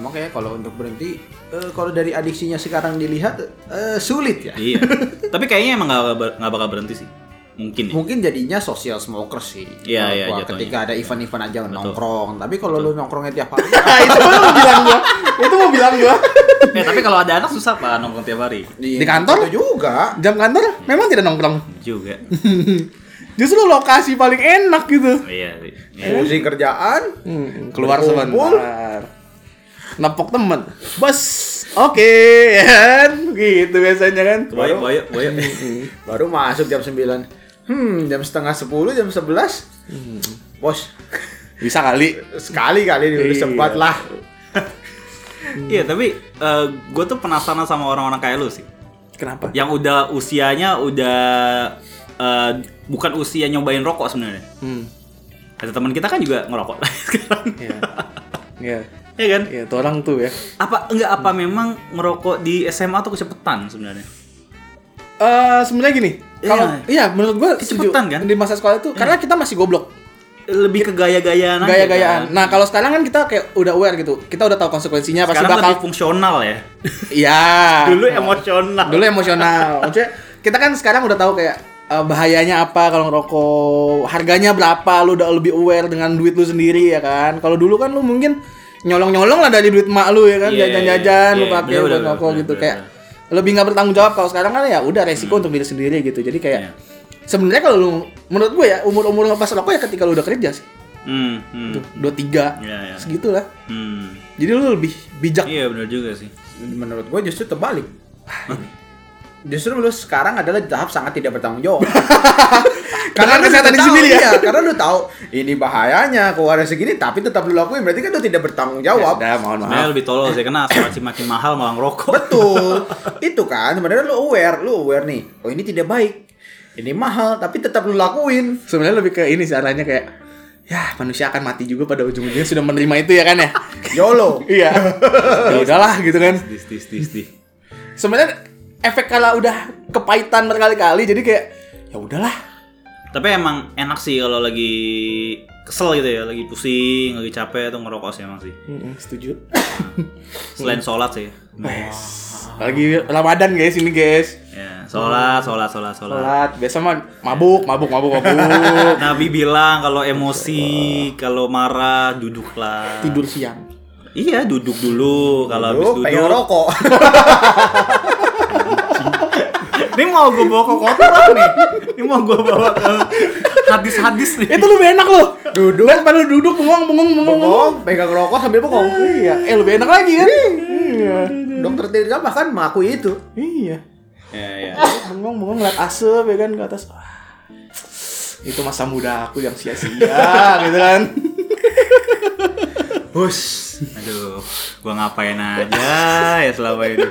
S3: Emang kayak kalau untuk berhenti, eh, kalau dari adiksinya sekarang dilihat eh, sulit ya.
S2: iya tapi kayaknya emang nggak bakal- nggak bakal berhenti sih mungkin ya.
S3: Mungkin jadinya social smoker sih.
S2: Iya,
S3: Menurut
S2: iya,
S3: gua.
S2: jatuhnya.
S3: Ketika ada event-event aja
S2: Betul.
S3: nongkrong. Tapi kalau lu nongkrongnya tiap hari, ya,
S1: Nah, itu mau bilang gua. Itu mau bilang gua.
S2: Eh, tapi kalau ada anak susah pak nongkrong tiap hari
S1: Di kantor?
S3: itu juga.
S1: Jam kantor memang tidak nongkrong.
S2: juga
S1: Justru lokasi paling enak gitu.
S2: iya sih. Iya.
S3: Pusing kerjaan.
S1: Hmm, keluar
S3: Berkumpul.
S1: sebentar. Nepok temen. Bos. Oke, ya kan? Gitu biasanya kan.
S2: Boyok, boyok, boyok.
S3: Baru
S2: Hmm.
S3: masuk jam 9. Hmm, jam setengah 10, jam 11. Bos,
S1: Bisa kali.
S3: Sekali kali udah
S1: Iya.
S3: sempat lah.
S2: Iya, tapi gue tuh penasaran sama orang-orang kayak lu sih.
S1: Kenapa?
S2: Yang udah usianya udah eh, bukan usia nyobain rokok sebenarnya.
S1: Hmm.
S2: Ada teman kita kan juga ngerokok sekarang.
S1: Iya. Iya.
S2: Iya kan?
S1: Iya, tuh orang tuh ya.
S2: Apa enggak apa memang ngerokok di SMA tuh kecepetan sebenarnya?
S1: Eh sebenarnya gini, kalau
S2: Iya.
S1: iya menurut gua setuju
S2: Kecepetan, kan?
S1: di masa sekolah itu karena kita masih goblok,
S2: Lebih ke gaya-gayaan aja,
S1: gaya-gayaan.
S2: kan?
S1: Nah, kalau sekarang kan kita kayak udah aware gitu. Kita udah tahu konsekuensinya pasti
S2: Sekarang
S1: bakal
S2: lebih fungsional ya.
S1: Iya.
S2: Dulu emosional.
S1: Dulu emosional. Maksudnya kita kan sekarang udah tahu kayak eh, bahayanya apa kalau ngerokok, harganya berapa, lu udah lebih aware dengan duit lu sendiri ya kan. Kalau dulu kan lu mungkin nyolong-nyolong lah dari duit mak lu ya kan,
S2: Iya,
S1: jajan-jajan lu
S2: iya,
S1: pakai
S2: bener,
S1: buat
S2: bener,
S1: ngerokok
S2: bener,
S1: gitu
S2: bener,
S1: kayak lebih nggak bertanggung jawab kalau sekarang kan ya udah resiko untuk diri sendiri gitu. Jadi kayak
S2: Hmm. Iya.
S1: sebenarnya kalau lu menurut gue ya umur-umur lepas rokok ya ketika lu udah kerja sih.
S2: Hmm, hmm.
S1: Tuh, 23
S2: Iya, iya.
S1: segitulah.
S2: Hmm.
S1: Jadi lu lebih bijak.
S2: Iya, benar juga sih.
S3: Menurut gue justru terbalik. Justru lu sekarang adalah di tahap sangat tidak bertanggung jawab.
S1: Karena
S3: lu
S1: kesehatan
S3: tahu,
S1: diri sendiri ya?
S3: iya, karena lu tahu ini bahayanya keluarnya segini tapi tetap lu lakuin berarti kan lu tidak bertanggung jawab.
S1: Ya, mohon
S2: Sebenarnya lebih tolol sih karena asuransi makin mahal malah ngerokok.
S3: Betul. Itu kan sebenarnya lu aware, lu aware nih. Oh ini tidak baik. Ini mahal tapi tetap lu lakuin.
S1: sebenarnya lebih ke ini sih arahnya kayak ya manusia akan mati juga pada ujung-ujungnya sudah menerima itu ya kan ya
S3: YOLO.
S1: iya ya udahlah gitu kan
S2: Dis, dis, dis, dis.
S1: sebenarnya efek kalau udah kepahitan berkali-kali jadi kayak ya udahlah
S2: Tapi emang enak sih kalau lagi kesel gitu ya, lagi pusing, lagi capek tuh ngerokok sih emang sih.
S1: Mm-mm, setuju
S2: Selain sholat sih.
S1: Nah. Wes. lagi ramadan guys ini guys
S2: Ya, sholat, sholat, sholat, sholat.
S1: sholat biasa mah mabuk mabuk mabuk mabuk
S2: Nabi bilang kalau emosi, kalau marah duduklah.
S1: tidur siang
S2: Iya, duduk dulu. Kalau habis
S3: Lu pengen
S2: duduk.
S3: rokok.
S2: Ini mau gue bawa ke kotoran nih. Ini mau gue bawa ke hadis-hadis nih.
S1: itu lebih enak loh duduk daripada lu duduk bengong bengong bengong bengong
S3: Bengong, pegang rokok sambil bengong.
S1: iya eh lebih enak lagi kan iya
S3: Dokter Tirta bahkan mengakui itu.
S1: iya
S2: Ya, ya.
S1: bengong bengong ngeliat asap ya kan ke atas Wah, itu masa muda aku yang sia-sia gitu kan
S2: Bus. Aduh, gua ngapain aja ya selama ini.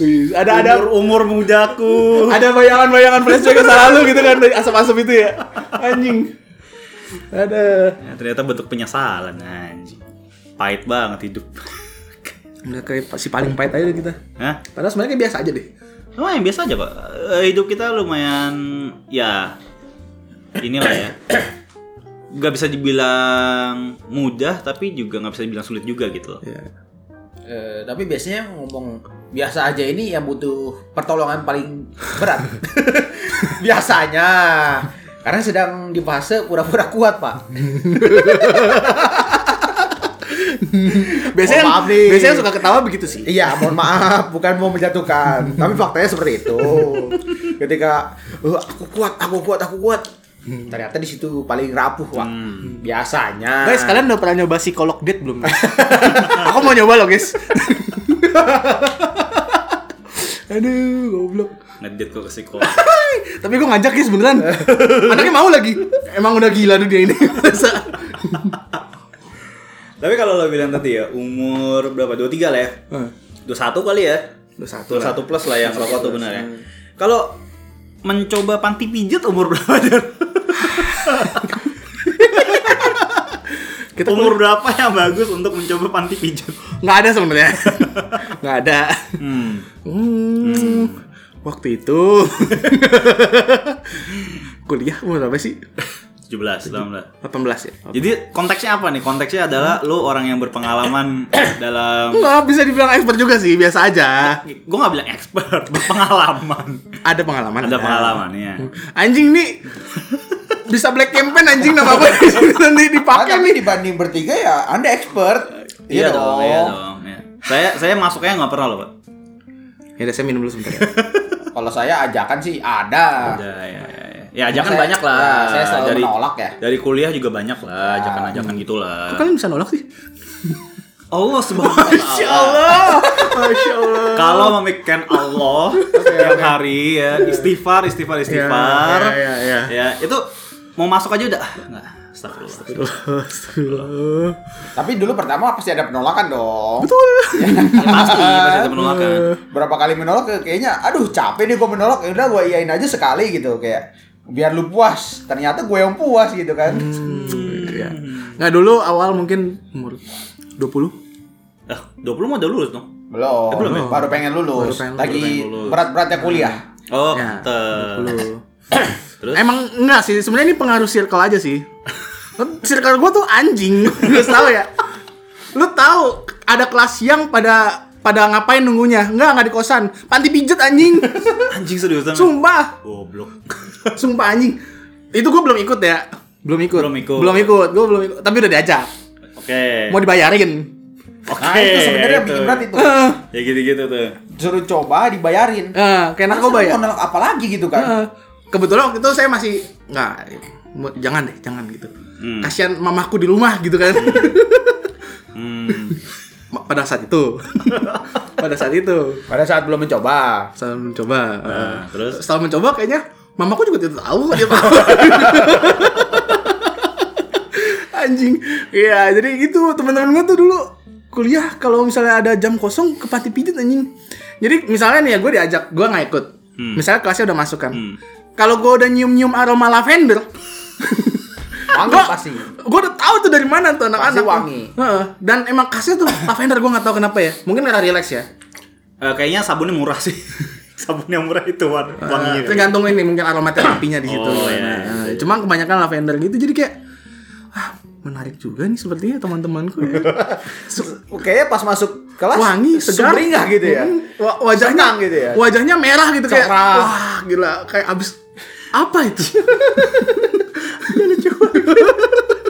S1: Wih, ada ada
S2: umur mudaku.
S1: ada bayangan-bayangan flashback ke masa lalu gitu kan dari asap-asap itu ya anjing ada
S2: Ya, ternyata bentuk penyesalan anjing. Pahit banget hidup.
S1: udah kayak si paling pahit aja kita
S2: Hah?
S1: padahal sebenarnya kayak biasa aja deh
S2: Lumayan biasa aja, Pak. Eh, Hidup kita lumayan ya inilah ya. Gak bisa dibilang mudah, tapi juga nggak bisa dibilang sulit juga gitu loh.
S1: ya.
S3: Eh, tapi biasanya ngomong biasa aja ini yang butuh pertolongan paling berat. biasanya. Karena sedang di fase pura-pura kuat, Pak.
S1: biasanya
S3: Oh, maaf nih.
S1: biasanya suka ketawa begitu sih
S3: Iya, mohon maaf, bukan mau menjatuhkan. Tapi faktanya seperti itu. Ketika "Eh, aku kuat, aku kuat, aku kuat. Hmm, Ternyata di situ paling rapuh, Pak. Hmm. Biasanya.
S1: guys kalian udah pernah nyoba psikolog date belum aku mau nyoba loh guys aduh goblok
S2: Ngedit kok ke psikolog.
S1: Tapi gue ngajak guys beneran. Anaknya mau lagi. Emang udah gila tuh dia ini. Masa?
S2: tapi kalau lo bilang tadi ya, umur berapa? 23 lah ya. 21 kali ya.
S1: 21 lah.
S2: 21 plus lah yang rokok tuh benar ya. Kalau mencoba panti pijat umur berapa? Jar?
S1: Kita
S2: umur berapa yang bagus untuk mencoba panti pijat?
S1: nggak ada sebenarnya. Nggak ada.
S2: Hmm.
S1: Hmm. Waktu itu kuliah umur berapa sih?
S2: 17, 18.
S1: 18 ya.
S2: Jadi konteksnya apa nih? Konteksnya adalah lu orang yang berpengalaman dalam
S1: Enggak bisa dibilang expert juga sih, biasa aja.
S2: gue nggak bilang expert, berpengalaman.
S1: Ada pengalaman.
S2: Ada pengalaman ya.
S1: Anjing nih bisa black campaign anjing nama apa nanti
S3: Ah,
S1: dipakai
S3: tapi
S1: nih.
S3: dibanding bertiga ya Anda expert.
S2: Iya dong, iya dong. iya. Saya saya masuknya nggak pernah loh, Pak.
S1: Ya udah saya minum dulu sebentar ya.
S3: Kalau saya ajakan sih ada.
S2: Ya, ya, ya. Ya, ajakan
S3: Saya-
S2: banyak lah.
S3: ya, saya selalu menolak ya. Ah, hmm.
S2: Dari kuliah juga banyak lah, ajakan-ajakan gitulah.
S1: Kok kalian bisa nolak sih?
S2: Allah subhanahu wa ta'ala.
S1: Allah. Masya Allah.
S2: Kalau memikirkan Allah tiap hari ya,
S3: Iya.
S2: istighfar, istighfar, istighfar.
S1: ya, ya,
S2: Ya, itu mau masuk aja udah ah, nggak
S3: Iya,
S2: Astagfirullah.
S1: Astagfirullah.
S3: Tapi dulu pertama pasti ada penolakan dong.
S2: Ya, pasti pasti ada penolakan.
S3: Berapa kali menolak kayak- kayaknya aduh capek nih gue menolak. Ya udah gue iain aja sekali gitu kayak biar lu puas. Ternyata gue yang puas gitu kan.
S1: Iya. Nggak dulu awal mungkin umur 20
S2: Eh, 20 mah udah lulus dong.
S3: Belum,
S2: Eh, belum ya?
S3: baru pengen lulus.
S1: Baru pengen- Hmm.
S3: Lagi
S2: baru pengen lulus.
S3: berat-beratnya kuliah.
S2: Oh,
S1: Ya,
S2: ter.
S1: 20.
S2: Terus?
S1: Emang enggak sih, sebenarnya ini pengaruh circle aja sih. circle gue tuh anjing, lu tahu ya. Lu tahu ada kelas siang pada pada ngapain nunggunya? Enggak, enggak di kosan. Panti pijet anjing.
S2: Anjing seriusan.
S1: Sumpah,
S2: Goblok.
S1: sumpah anjing. Itu gue belum ikut ya. Belum ikut.
S2: Belum ikut.
S1: Belum ikut. Gue belum ikut, tapi udah diajak.
S2: Oke.
S1: Mau dibayarin.
S2: Oke.
S3: Nah, itu sebenarnya
S2: itu.
S3: bikin berat itu.
S1: Heeh.
S2: Ya gitu-gitu tuh.
S3: Suruh coba dibayarin.
S1: Heeh, kayak narkoba ya. Eh.
S3: Mau nolak apa lagi gitu kan?
S1: Heeh. Kebetulan waktu itu saya masih nggak mau- jangan deh, jangan gitu.
S2: Hmm.
S1: Kasihan mamaku di rumah gitu kan.
S2: Hmm.
S1: Ma- pada saat itu pada saat itu
S3: Pada saat belum mencoba.
S1: setelah mencoba eh,
S2: Nah, terus?
S1: setelah mencoba kayaknya mamaku juga tidak tahu kok dia tahu anjing iya jadi gitu teman-teman gue tuh dulu kuliah kalau misalnya ada jam kosong ke panti pijit anjing jadi misalnya nih ya gue diajak gue nggak ikut
S2: Hmm.
S1: misalnya kelasnya udah masuk kan
S2: Hmm.
S1: kalau gue udah nyium-nyium aroma lavender
S3: Wangi
S1: Gua-
S3: pasti.
S1: Gue udah tahu tuh dari mana tuh anak-anak.
S3: Pasti wangi.
S1: Heeh. Dan emang khasnya tuh lavender gue nggak tahu kenapa ya. Mungkin karena relax ya.
S2: Eh, kayaknya sabunnya murah sih. Sabun yang murah itu
S1: Eh,
S2: wan- wanginya.
S1: tergantung ini mungkin aromaterapinya di situ.
S2: Oh, iya,
S1: Nah, eh,
S2: iya,
S1: Cuma kebanyakan lavender gitu jadi kayak ah, menarik juga nih sepertinya teman-temanku ya. Su-
S3: Kayaknya pas masuk kelas
S1: wangi segar
S3: sumringah gitu ya.
S1: Mm, wa- wajahnya
S3: Senang gitu ya.
S1: wajahnya merah gitu kayak
S3: Cerah.
S1: wah gila kayak abis apa itu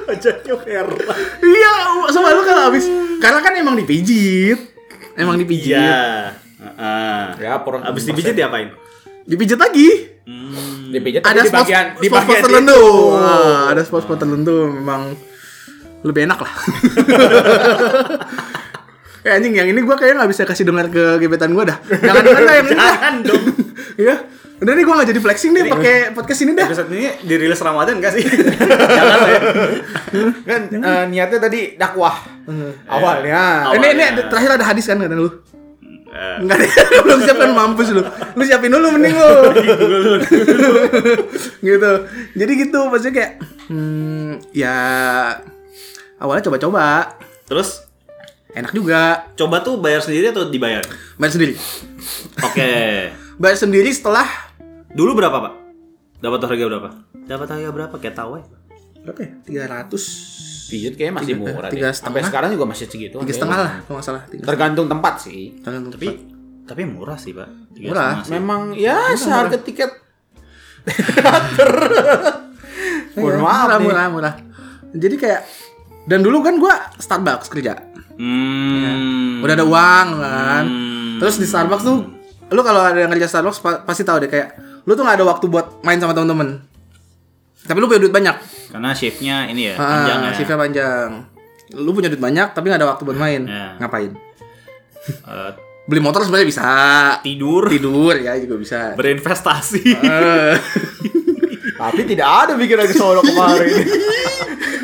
S2: Wajahnya merah.
S1: iya sama lu kan abis karena kan emang dipijit emang dipijit
S2: Iya. Heeh.
S3: Ya, per-
S2: Abis dipijit diapain?
S1: dipijit lagi
S2: Hmm.
S3: Dipijit
S1: ada
S3: tapi di
S1: spot
S3: bagian
S1: spot,
S3: di
S1: spot
S3: bagian
S1: tertentu
S3: itu.
S1: Nah, ada spot spot tertentu memang lebih enak lah Eh anjing yang ini gue kayaknya nggak bisa kasih dengar ke gebetan gue dah. Jangan dengar dah yang ini. dah.
S2: Jangan dong.
S1: Iya. Udah nih gue nggak jadi flexing deh pakai podcast ini dah.
S2: Episode ini dirilis Ramadan gak sih? Jangan lah ya.
S3: Kan eh, niatnya tadi dakwah.
S1: Eh.
S2: Awal.
S3: Awalnya. Oh,
S1: Ini ini
S2: awalnya.
S3: iya.
S1: ada- Eh, terakhir ada hadis kan kata lu.
S2: Eh,
S1: Enggak deh. Belum siapin mampus lu. Lu siapin dulu mending lu. gitu. Jadi gitu maksudnya kayak hmm, ya awalnya coba-coba
S2: Terus
S1: enak juga
S2: coba tuh bayar sendiri atau dibayar?
S1: bayar sendiri
S2: Oke.
S1: bayar sendiri setelah
S2: Dulu berapa, Pak? Dapat harga berapa? Dapat harga berapa? Kayak tahu ya.
S1: berapa ya tiga ratus
S3: Pijit kayaknya masih
S1: Tiga-
S3: murah
S1: tiga
S3: deh. Sampai
S1: setengah.
S3: sekarang juga masih segitu.
S1: tiga setengah lah kalau nggak salah tiga
S3: Tergantung tempat sih.
S1: setengah
S2: Tapi tapi murah sih, Pak. Tiga
S1: Iya, Murah.
S2: setengah sih.
S3: Memang ya seharga tiket teater.
S1: Iya.
S3: Mohon maaf
S1: murah
S3: nih.
S1: murah murah jadi kayak dan dulu kan gua Starbucks kerja
S2: Hmm.
S1: udah ada uang kan
S2: Hmm.
S1: terus di Starbucks tuh lu kalau ada yang kerja Starbucks pa- pasti tahu deh kayak lu tuh nggak ada waktu buat main sama temen-temen tapi lu punya duit banyak
S2: Karena shiftnya ini ya, panjang
S1: ah,
S2: ya.
S1: shiftnya panjang lu punya duit banyak tapi nggak ada waktu buat main
S2: Ya.
S1: ngapain
S2: Eh,
S1: beli motor sebenarnya bisa
S2: tidur,
S1: tidur ya juga bisa
S2: berinvestasi.
S1: Eh.
S3: Tapi tidak ada bikin lagi solo kemarin.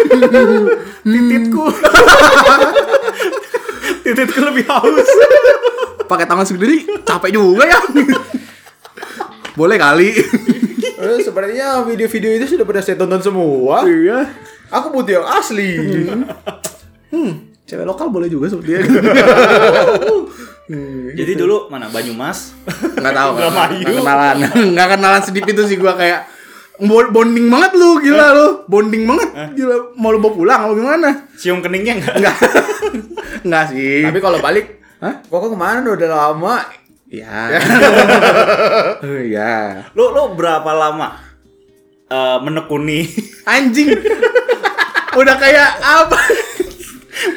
S2: Tititku. Tititku lebih haus.
S1: pakai tangan sendiri capek juga ya boleh kali
S3: Eh, Sepertinya video-video itu sudah pernah saya tonton semua.
S1: iya
S3: Aku butuh yang asli.
S1: hmm cewek lokal boleh juga sepertinya hmm.
S2: Jadi dulu mana Banyumas?
S1: nggak tahu nggak
S2: Indramayu.
S1: nggak kenalan nggak kenalan sedikit itu sih gua kayak bo- bonding banget lu gila
S3: Eh?
S1: lu bonding banget gila mau lu bawa pulang apa gimana
S2: Cium keningnya enggak?
S1: nggak nggak sih
S3: Tapi kalau balik,
S1: Hah?
S3: kok kok kemana udah lama?
S1: ya Eh, ya
S2: Lo lo berapa lama eh, menekuni
S1: anjing udah kayak apa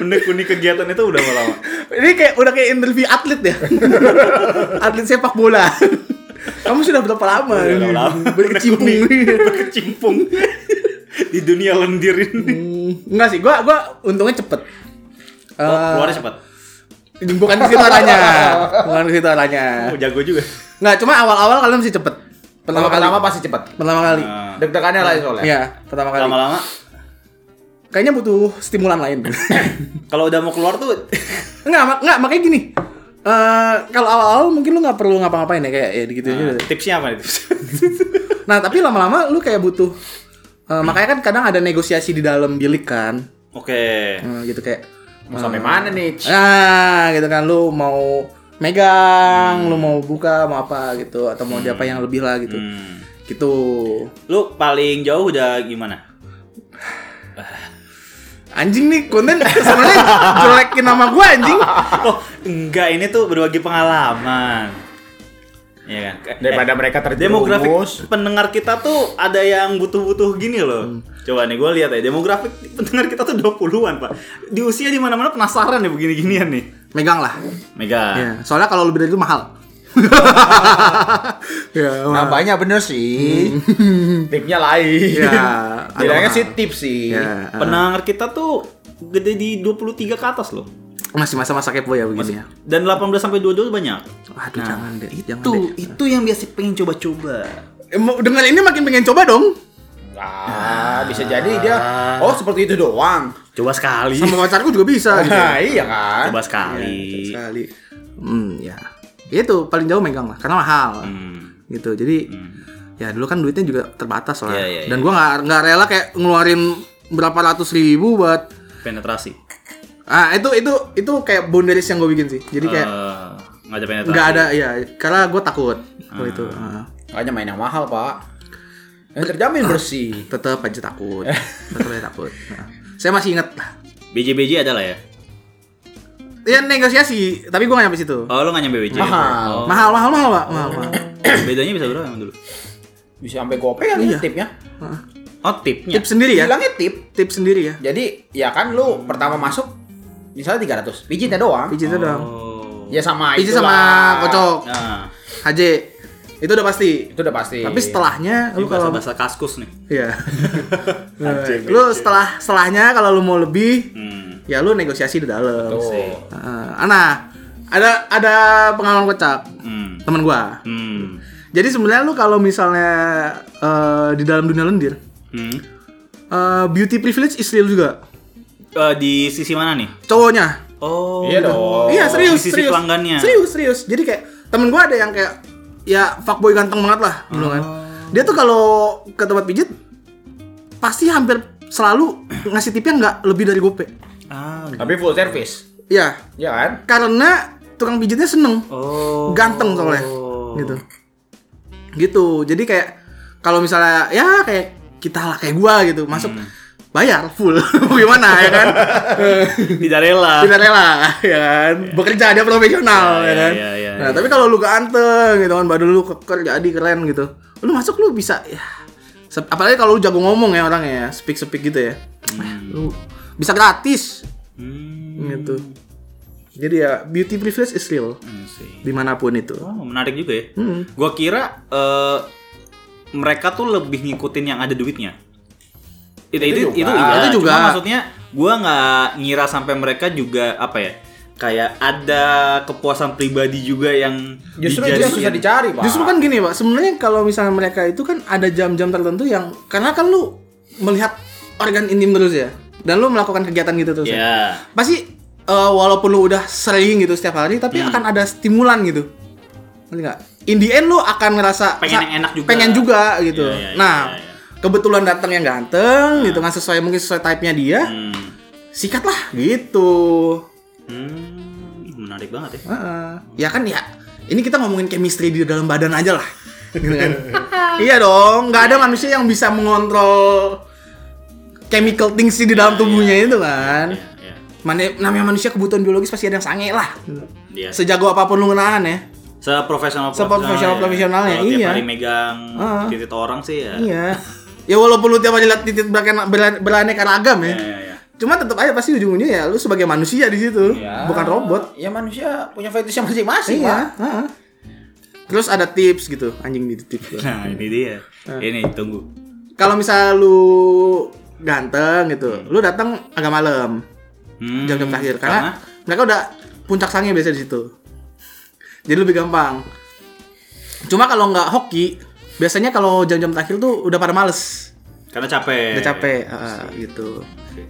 S2: menekuni kegiatan itu udah berapa lama?
S1: Ini kayak udah kayak interview atlet ya. atlet sepak bola. Kamu sudah berapa lama?
S2: Udah berapa lama?
S1: Berkecimpung.
S2: Menekuni, berkecimpung di dunia lendir ini.
S1: Hmm, Enggak sih, gua gua untungnya cepet.
S2: Oh,
S1: Eh,
S2: keluarnya cepat.
S1: bukan di situ arahnya. Bukan di situ arahnya.
S2: Oh, jago juga.
S1: Enggak, cuma awal-awal kalian mesti cepet. Pertama
S3: Pertama
S1: kali.
S3: pertama pasti cepat.
S1: Pertama kali.
S2: Nah,
S3: Deg-degannya lah soalnya.
S1: Iya, pertama kali.
S2: lama-lama
S1: Kayaknya butuh stimulan lain.
S2: Kalau udah mau keluar tuh
S1: Enggak, mak enggak makanya gini. Eh kalau awal-awal mungkin lu nggak perlu ngapa-ngapain ya kayak ya gitu aja.
S2: tipsnya apa nih?
S1: Nah, tapi lama-lama lu kayak butuh eh, makanya kan kadang ada negosiasi di dalam bilik kan.
S2: Oke.
S1: Eh, gitu kayak
S3: Mau sampai mana nih?
S1: ah gitu kan lu mau megang, lu mau buka, mau apa gitu atau mau diapa yang lebih lah gitu.
S2: Hmm.
S1: Gitu.
S2: Lu paling jauh udah gimana?
S1: Anjing nih konten sebenarnya jelekin nama gua anjing.
S2: Oh, enggak ini tuh berbagi pengalaman. Iya kan?
S3: Daripada mereka terjerumus.
S2: demografik pendengar kita tuh ada yang butuh-butuh gini loh. Coba nih gue lihat ya demografik pendengar kita tuh 20-an, Pak. Di usia di mana-mana penasaran ya begini-ginian nih.
S1: Megang lah.
S2: Mega.
S1: Ya, soalnya kalau lebih dari itu mahal. ya, mahal.
S3: Namanya Nah, bener sih. Tipnya lain.
S1: Hmm. Ya, ada
S3: Bilangnya sih tips sih.
S1: Ya, eh,
S2: Pendengar kita tuh gede di 23 ke atas loh.
S1: masih masa-masa kepo ya begini ya.
S2: Dan 18 sampai 22 banyak.
S1: Aduh, jangan deh, jangan
S2: Itu
S1: deh.
S2: itu yang biasa pengen coba-coba.
S1: Eh, mau- Dengan ini makin pengen coba dong.
S3: Ah, bisa jadi dia oh seperti itu doang.
S2: Coba sekali.
S1: Sama pacarku juga bisa gitu.
S3: Nah, iya kan?
S2: Coba sekali.
S1: Sekali. Hmm, ya. Itu paling jauh megang lah karena mahal.
S2: Hmm.
S1: Gitu. Jadi ya dulu kan duitnya juga terbatas soalnya.
S2: Ya, ya,
S1: Dan gua nggak nggak rela kayak ngeluarin berapa ratus ribu buat
S2: Penetrasi.
S1: Ah, itu itu itu kayak boundaries yang gue bikin sih. Jadi kayak
S2: Eh, nggak ada penetrasi.
S1: nggak ada ya karena gue takut kalau itu ah.
S3: Makanya main yang mahal, Pak. Yang terjamin bersih.
S1: tetap aja takut tetap aja takut Nah, saya masih ingat lah
S2: BJ-BJ ada lah ya.
S1: ya negosiasi tapi gue gak nyampe situ
S2: Oh, lo nggak nyampe BJ.
S3: Mahal.
S2: Oh.
S1: mahal mahal mahal pak mahal, mahal.
S2: Bedanya bisa berapa emang dulu?
S3: Bisa sampai gopay kan
S1: Iya.
S3: ya tipnya.
S2: Oh, tipnya.
S1: Ah. tips sendiri ya
S3: Bilangnya tip.
S1: tips sendiri ya
S3: Jadi, ya kan lu pertama masuk misalnya 300. Pijitnya ya doang.
S1: pijit doang
S2: Oh.
S3: Ya sama
S1: pijit
S3: itulah.
S1: sama kocok
S2: Nah,
S1: HJ itu udah pasti
S3: Itu udah pasti.
S1: tapi setelahnya
S2: ini
S1: lu
S2: bahasa
S1: kalau
S2: bahasa kaskus nih.
S1: ya lu setelah setelahnya kalau lu mau lebih
S2: Hmm.
S1: ya lu negosiasi di dalam
S3: Tuh.
S1: Ah, nah ada ada pengalaman kocak
S2: Hmm.
S1: teman gua
S2: Hmm.
S1: Jadi sebenarnya lu kalau misalnya eh, di dalam dunia lendir,
S2: Hmm.
S1: eh, beauty privilege istri lu juga.
S2: Eh, di sisi mana nih?
S1: Cowoknya.
S2: Oh.
S3: Iya dong.
S1: iya, serius,
S2: di sisi
S1: serius.
S2: pelanggannya.
S1: Serius, serius. Jadi kayak temen gua ada yang kayak ya fuckboy ganteng banget lah dulu kan.
S2: Oh.
S1: Dia tuh kalau ke tempat pijit pasti hampir selalu ngasih tipnya nggak lebih dari gope.
S2: Ah.
S3: Tapi full service.
S1: Iya,
S3: Ya kan?
S1: karena tukang pijitnya seneng.
S2: Oh.
S1: ganteng soalnya gitu gitu jadi kayak kalau misalnya ya kayak kita lah kayak gua gitu masuk
S2: Hmm.
S1: bayar full Mau gimana ya kan
S2: Tidak rela.
S1: tidak rela ya kan bekerja dia profesional ya
S2: Ya, ya,
S1: kan
S2: ya, ya,
S1: nah tapi kalau lu ganteng gitu kan badan lu keker jadi keren gitu lu masuk lu bisa ya sep- apalagi kalau lu jago ngomong ya orangnya ya speak speak gitu ya Eh, lu bisa gratis
S2: Hmm.
S1: gitu jadi ya beauty privilege is real
S2: Hmm, sih.
S1: dimanapun itu
S2: Oh, menarik juga ya.
S1: Hmm.
S2: Gua kira eh, mereka tuh lebih ngikutin yang ada duitnya. Itu itu
S3: Itu
S2: itu,
S3: juga.
S2: iya.
S1: Itu
S2: Cuma
S1: juga.
S2: maksudnya gua nggak ngira sampai mereka juga apa ya? Kayak ada kepuasan pribadi juga yang
S3: Justru itu
S2: dijadiin.
S3: yang susah dicari, Pak.
S1: Iya, Justru kan gini pak, sebenarnya kalau misalnya mereka itu kan ada jam-jam tertentu yang karena kan lu melihat organ intim terus ya, dan lu melakukan kegiatan gitu terus. ya.
S2: Ya.
S1: Pasti eh, walaupun lu udah sering gitu setiap hari, tapi
S2: Hmm.
S1: akan ada stimulan gitu. Ngerti nggak? In the end lu akan ngerasa
S2: Pengen
S1: sa-
S2: yang enak juga.
S1: Pengen juga gitu.
S2: Iya, iya, iya,
S1: nah,
S2: iya, iya.
S1: kebetulan datang yang ganteng gitu kan sesuai mungkin sesuai type-nya dia,
S2: Hmm.
S1: sikat lah gitu.
S2: Hmm, menarik banget ya.
S1: Heeh. Ya kan ya, ini kita ngomongin chemistry di dalam badan aja lah. Gitu kan. iya dong, nggak ada manusia yang bisa mengontrol chemical things di dalam
S2: Iya,
S1: tubuhnya itu kan.
S2: Ya, ya.
S1: Mana namanya manusia kebutuhan biologis pasti ada yang sange lah.
S2: Dia
S1: Sejago apapun lu ngenaan ya.
S2: seprofesional
S1: Seprofesional- profesionalnya,
S2: ya. Kalau tiap
S1: iya.
S2: hari megang
S1: Ah.
S2: titik orang sih ya.
S1: Iya. Ya walaupun lu tiap hari lihat titik berane- berane- beraneka ragam
S2: Ya,
S1: ya.
S2: ya, ya.
S1: Cuma tetap aja pasti ujung-ujungnya ya lu sebagai manusia di situ,
S3: Ya.
S1: bukan robot.
S3: Ya manusia punya fetishnya masing-masing, Pak.
S1: Iya, heeh. Terus ada tips gitu, anjing di tips. gua.
S2: Nah, ini dia. Ini tunggu.
S1: kalau misalnya lu ganteng gitu, lu datang agak malam
S2: Hmm,
S1: jam-jam terakhir karena, mereka udah puncak sangnya biasa di situ. Jadi lebih gampang. Cuma kalau nggak hoki, biasanya kalau jam-jam terakhir tuh udah pada males.
S2: Karena capek.
S1: udah capek ah, gitu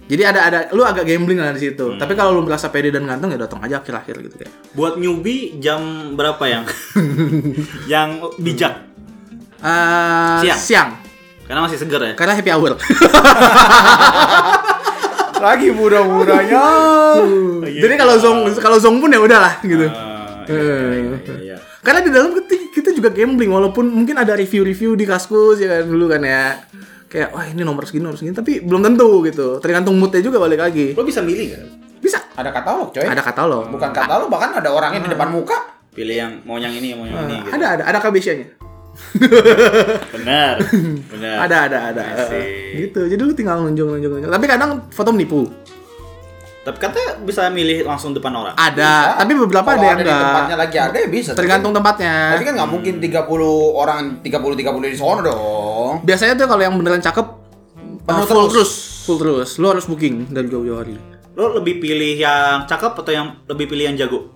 S1: jadi ada ada lu agak gambling lah di
S2: Hmm.
S1: situ tapi kalau lu merasa pede dan ganteng ya datang aja akhir-akhir gitu kayak
S2: Buat newbie jam berapa yang yang bijak?
S1: Ah,
S2: Siang.
S1: siang
S2: Karena masih segar ya.
S1: karena happy hour
S3: Lagi mudah-mudahnya.
S1: Hmm. jadi kalau zong kalau zong pun ya udahlah gitu
S2: Ah, iya,
S1: Eh.
S2: iya, iya.
S1: Karena di dalam keti- kita juga gambling walaupun mungkin ada review-review di Kaskus ya kan dulu kan ya. Kayak wah ini nomor segini nomor segini tapi belum tentu gitu. Tergantung moodnya juga balik lagi.
S2: Lo bisa milih kan?
S1: Bisa.
S3: Ada katalog, coy.
S1: Ada Hmm. katalog.
S3: Bukan katalog, bahkan ada orangnya di depan muka.
S2: Pilih yang mau yang ini, mau yang ini. Gitu.
S1: Ada ada ada KBC-nya.
S2: Benar. Benar.
S1: Ada ada ada.
S3: Iya
S2: I see.
S1: Gitu. Jadi lu tinggal nunjuk nunjuk nunjuk. Tapi kadang foto menipu.
S2: Tapi katanya bisa milih langsung depan orang.
S1: Ada, Ah, tapi beberapa
S3: Ah. Kalau
S1: ada yang
S3: di tempatnya
S1: enggak.
S3: lagi Iya. Oh, ada ya bisa.
S1: Tergantung tempatnya.
S3: Tapi kan nggak mungkin 30 orang 30 30 di sono dong.
S1: Biasanya tuh kalau yang beneran cakep
S3: Penuh
S1: uh, full
S3: terus.
S1: terus. Full terus. Lu harus booking dari jauh-jauh hari.
S2: Lo lebih pilih yang cakep atau yang lebih pilih yang jago?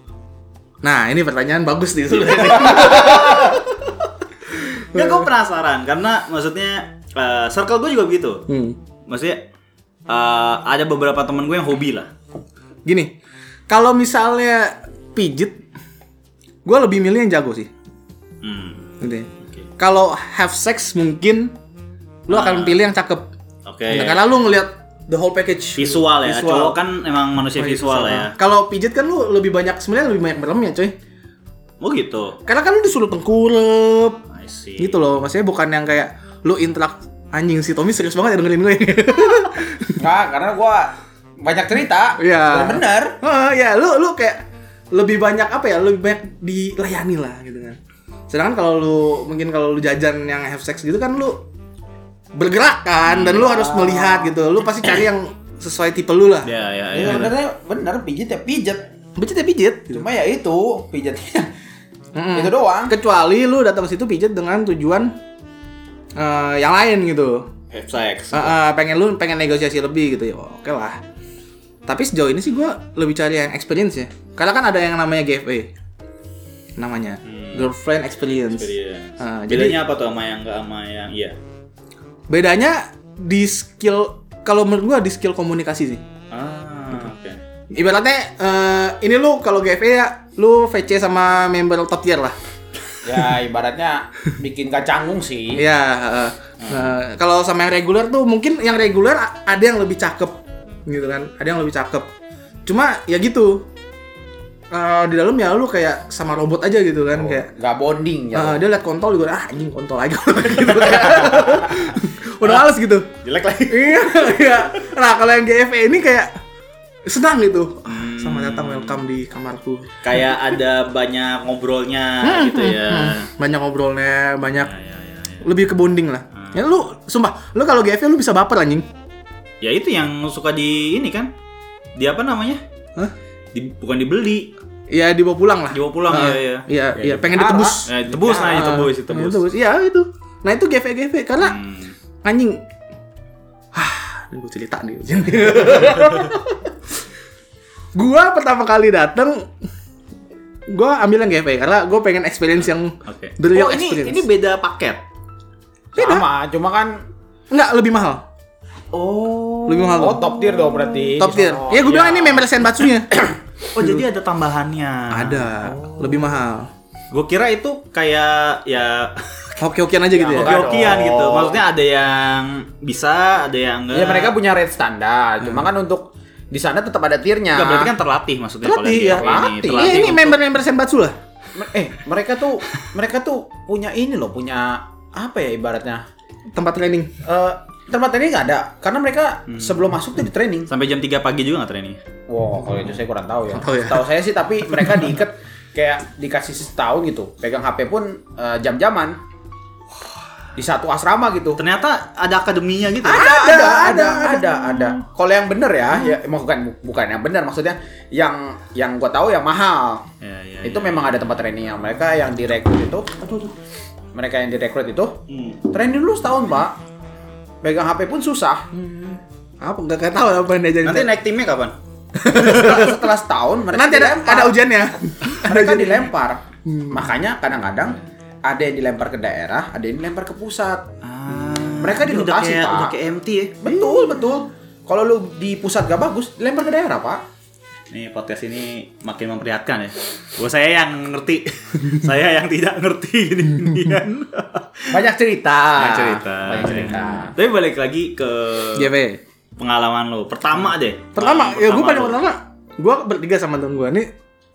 S1: Nah, ini pertanyaan bagus nih sebenarnya.
S3: Iya.
S2: Ya
S1: Eh.
S2: gue penasaran karena maksudnya eh, circle gue juga begitu.
S1: Hmm.
S2: Maksudnya eh, ada beberapa teman gue yang hobi lah.
S1: Gini, kalau misalnya pijit, gue lebih milih yang jago sih.
S2: Hmm.
S1: Gitu ya. Kalau have sex mungkin lu
S3: Ah.
S1: akan pilih yang cakep.
S2: Oke.
S3: Iya,
S1: Karena lu ngelihat the whole package.
S2: Visual ya.
S1: Visual. Oh, iya,
S2: Cowok kan emang manusia visual lah ya.
S1: Kalau pijit kan lu lebih banyak sebenarnya lebih banyak meremnya coy.
S2: Oh gitu.
S1: Karena kan lu disuruh tengkurep.
S2: I see.
S1: Gitu loh, maksudnya bukan yang kayak lu interak anjing si Tommy serius banget ya dengerin gue.
S3: Nggak, karena gua banyak cerita.
S1: Iya.
S3: Dan Bener.
S1: Ah, ya lu lu kayak lebih banyak apa ya? Lebih banyak dilayani lah gitu kan. Sedangkan kalau lu mungkin kalau lu jajan yang have sex gitu kan lu bergerak kan dan lu harus melihat gitu. Lu pasti cari yang sesuai tipe lu lah.
S2: Ya
S1: Iya.
S2: ya
S3: Ya,
S2: ya.
S3: sebenarnya bener pijit ya pijit.
S1: Pijit ya pijit gitu.
S3: Cuma ya itu pijitnya.
S1: Mm-mm.
S3: Itu doang.
S1: Kecuali lu datang ke situ pijit dengan tujuan eh, yang lain gitu.
S2: Have sex.
S1: Eh, eh, pengen lu pengen negosiasi lebih gitu ya. Oke lah. Tapi sejauh ini sih gua lebih cari yang experience ya. Karena kan ada yang namanya GFE. Namanya girlfriend experience.
S2: Experience.
S1: Ah, jadi
S2: Bedanya apa tuh sama yang enggak sama yang iya?
S1: bedanya di skill kalau menurut gua di skill komunikasi sih. Gitu.
S2: Ah, oke.
S1: Ibaratnya eh, ini lu kalau GFE ya lu VC sama member top tier lah.
S3: Ya ibaratnya bikin kacanggung sih.
S1: Iya, heeh. Nah, kalau sama yang reguler tuh mungkin yang reguler a- ada yang lebih cakep gitu kan. Ada yang lebih cakep. Cuma ya gitu. Eh, di dalam ya lu kayak sama robot aja gitu kan kayak
S3: Nggak
S1: eh,
S3: bonding ya.
S1: dia liat kontol juga ah anjing kontol aja gitu kayak. Udah males gitu.
S2: Jelek lagi.
S1: Iya, iya. Nah, kalau yang GFE ini kayak senang gitu. Ah, Selamat datang welcome di kamarku.
S2: Kayak ada banyak ngobrolnya
S1: Ah,
S2: gitu ya.
S1: Banyak ngobrolnya, banyak
S2: Ya, ya, ya, ya.
S1: lebih ke bonding lah. Ya lu sumpah, lu kalau GFE lu bisa baper anjing.
S2: Ya itu yang suka di ini kan? Di apa namanya?
S1: Hah?
S2: Di, bukan dibeli,
S1: Ya dibawa pulang lah.
S2: Dibawa pulang,
S1: Ah,
S2: iya, iya.
S1: Iya, iya, pengen
S3: Ah,
S1: ditebus.
S2: Eh, tebus nah, tebus, tebus.
S1: Ditebus. Iya, itu. Nah, itu GV GV karena
S2: Hmm.
S1: anjing. Hah, ini gue cerita nih. gua pertama kali datang gua ambil yang GV karena gua pengen experience yang
S2: Oke.
S1: the real
S2: Oh, ini
S1: experience.
S2: ini beda paket.
S3: Sama, cuma kan
S1: Enggak, lebih mahal.
S2: Oh.
S1: Lebih mahal.
S3: Oh,
S1: gua.
S3: top tier dong berarti.
S1: top
S3: di
S1: tier.
S3: Iya. sono.
S1: ya gua
S2: iya.
S1: bilang ini member Senbatsunya.
S2: Oh, jadi ada tambahannya.
S1: Ada, lebih mahal.
S2: Gue kira itu kayak ya
S1: Hoki-hokian aja gitu ya.
S3: Enggak
S2: hoki-hokian
S3: dong.
S2: gitu. Maksudnya ada yang bisa, ada yang enggak.
S3: Ya mereka punya rate standar. Cuma kan untuk di sana tetap ada tiernya.
S2: Enggak, berarti kan terlatih maksudnya kalau
S1: Terlatih ya.
S2: yang di Yahoo ini,
S3: Terlatih.
S1: Iya, ini
S2: untuk-
S1: member-member Senbatsu lah.
S3: Me- eh mereka tuh mereka tuh punya ini loh, punya apa ya ibaratnya?
S1: Tempat training.
S3: Eh tempat training nggak ada karena mereka sebelum masuk tuh di training.
S2: sampai jam 3 pagi juga nggak training.
S3: Wow, kalau itu saya kurang tahu ya.
S1: Oh, iya.
S3: Tahu saya sih tapi mereka diikat kayak dikasih setahun gitu. Pegang HP pun eh, jam-jaman. Di satu asrama gitu.
S2: Ternyata ada akademinya gitu.
S3: ada ada ada ada ada kalau yang bener ya ya emang bukan bukan yang bener maksudnya yang yang gua tahu yang mahal
S2: Ya, ya,
S3: itu memang ada tempat training yang mereka yang direkrut itu mereka yang direkrut itu
S2: Hmm.
S3: training dulu setahun pak pegang HP pun susah
S1: Apa enggak enggak tahu apa yang dia jadi.
S2: Nanti naik timnya kapan?
S3: setelah, setelah setahun mereka
S1: Nanti ada,
S3: dilempar.
S1: ada ujiannya. Ada kan?
S3: mereka
S1: ujiannya.
S3: dilempar makanya kadang-kadang ada yang dilempar ke daerah ada yang dilempar ke pusat mereka di
S2: Ini udah
S3: lokasi,
S2: kayak
S3: Pak.
S2: udah kayak MT ya.
S3: Betul, betul. Kalau lu di pusat gak bagus, lempar ke daerah, Pak.
S2: Nih podcast ini makin memprihatkan ya. Buat saya yang ngerti, saya yang tidak ngerti gini ginian.
S3: Banyak cerita.
S2: Banyak cerita.
S3: Ah, Banyak cerita.
S2: Tapi balik lagi ke
S1: JP.
S2: pengalaman lo. Pertama deh.
S1: Pertama, ya gue paling
S2: lo.
S1: pertama. Gue bertiga sama temen gue nih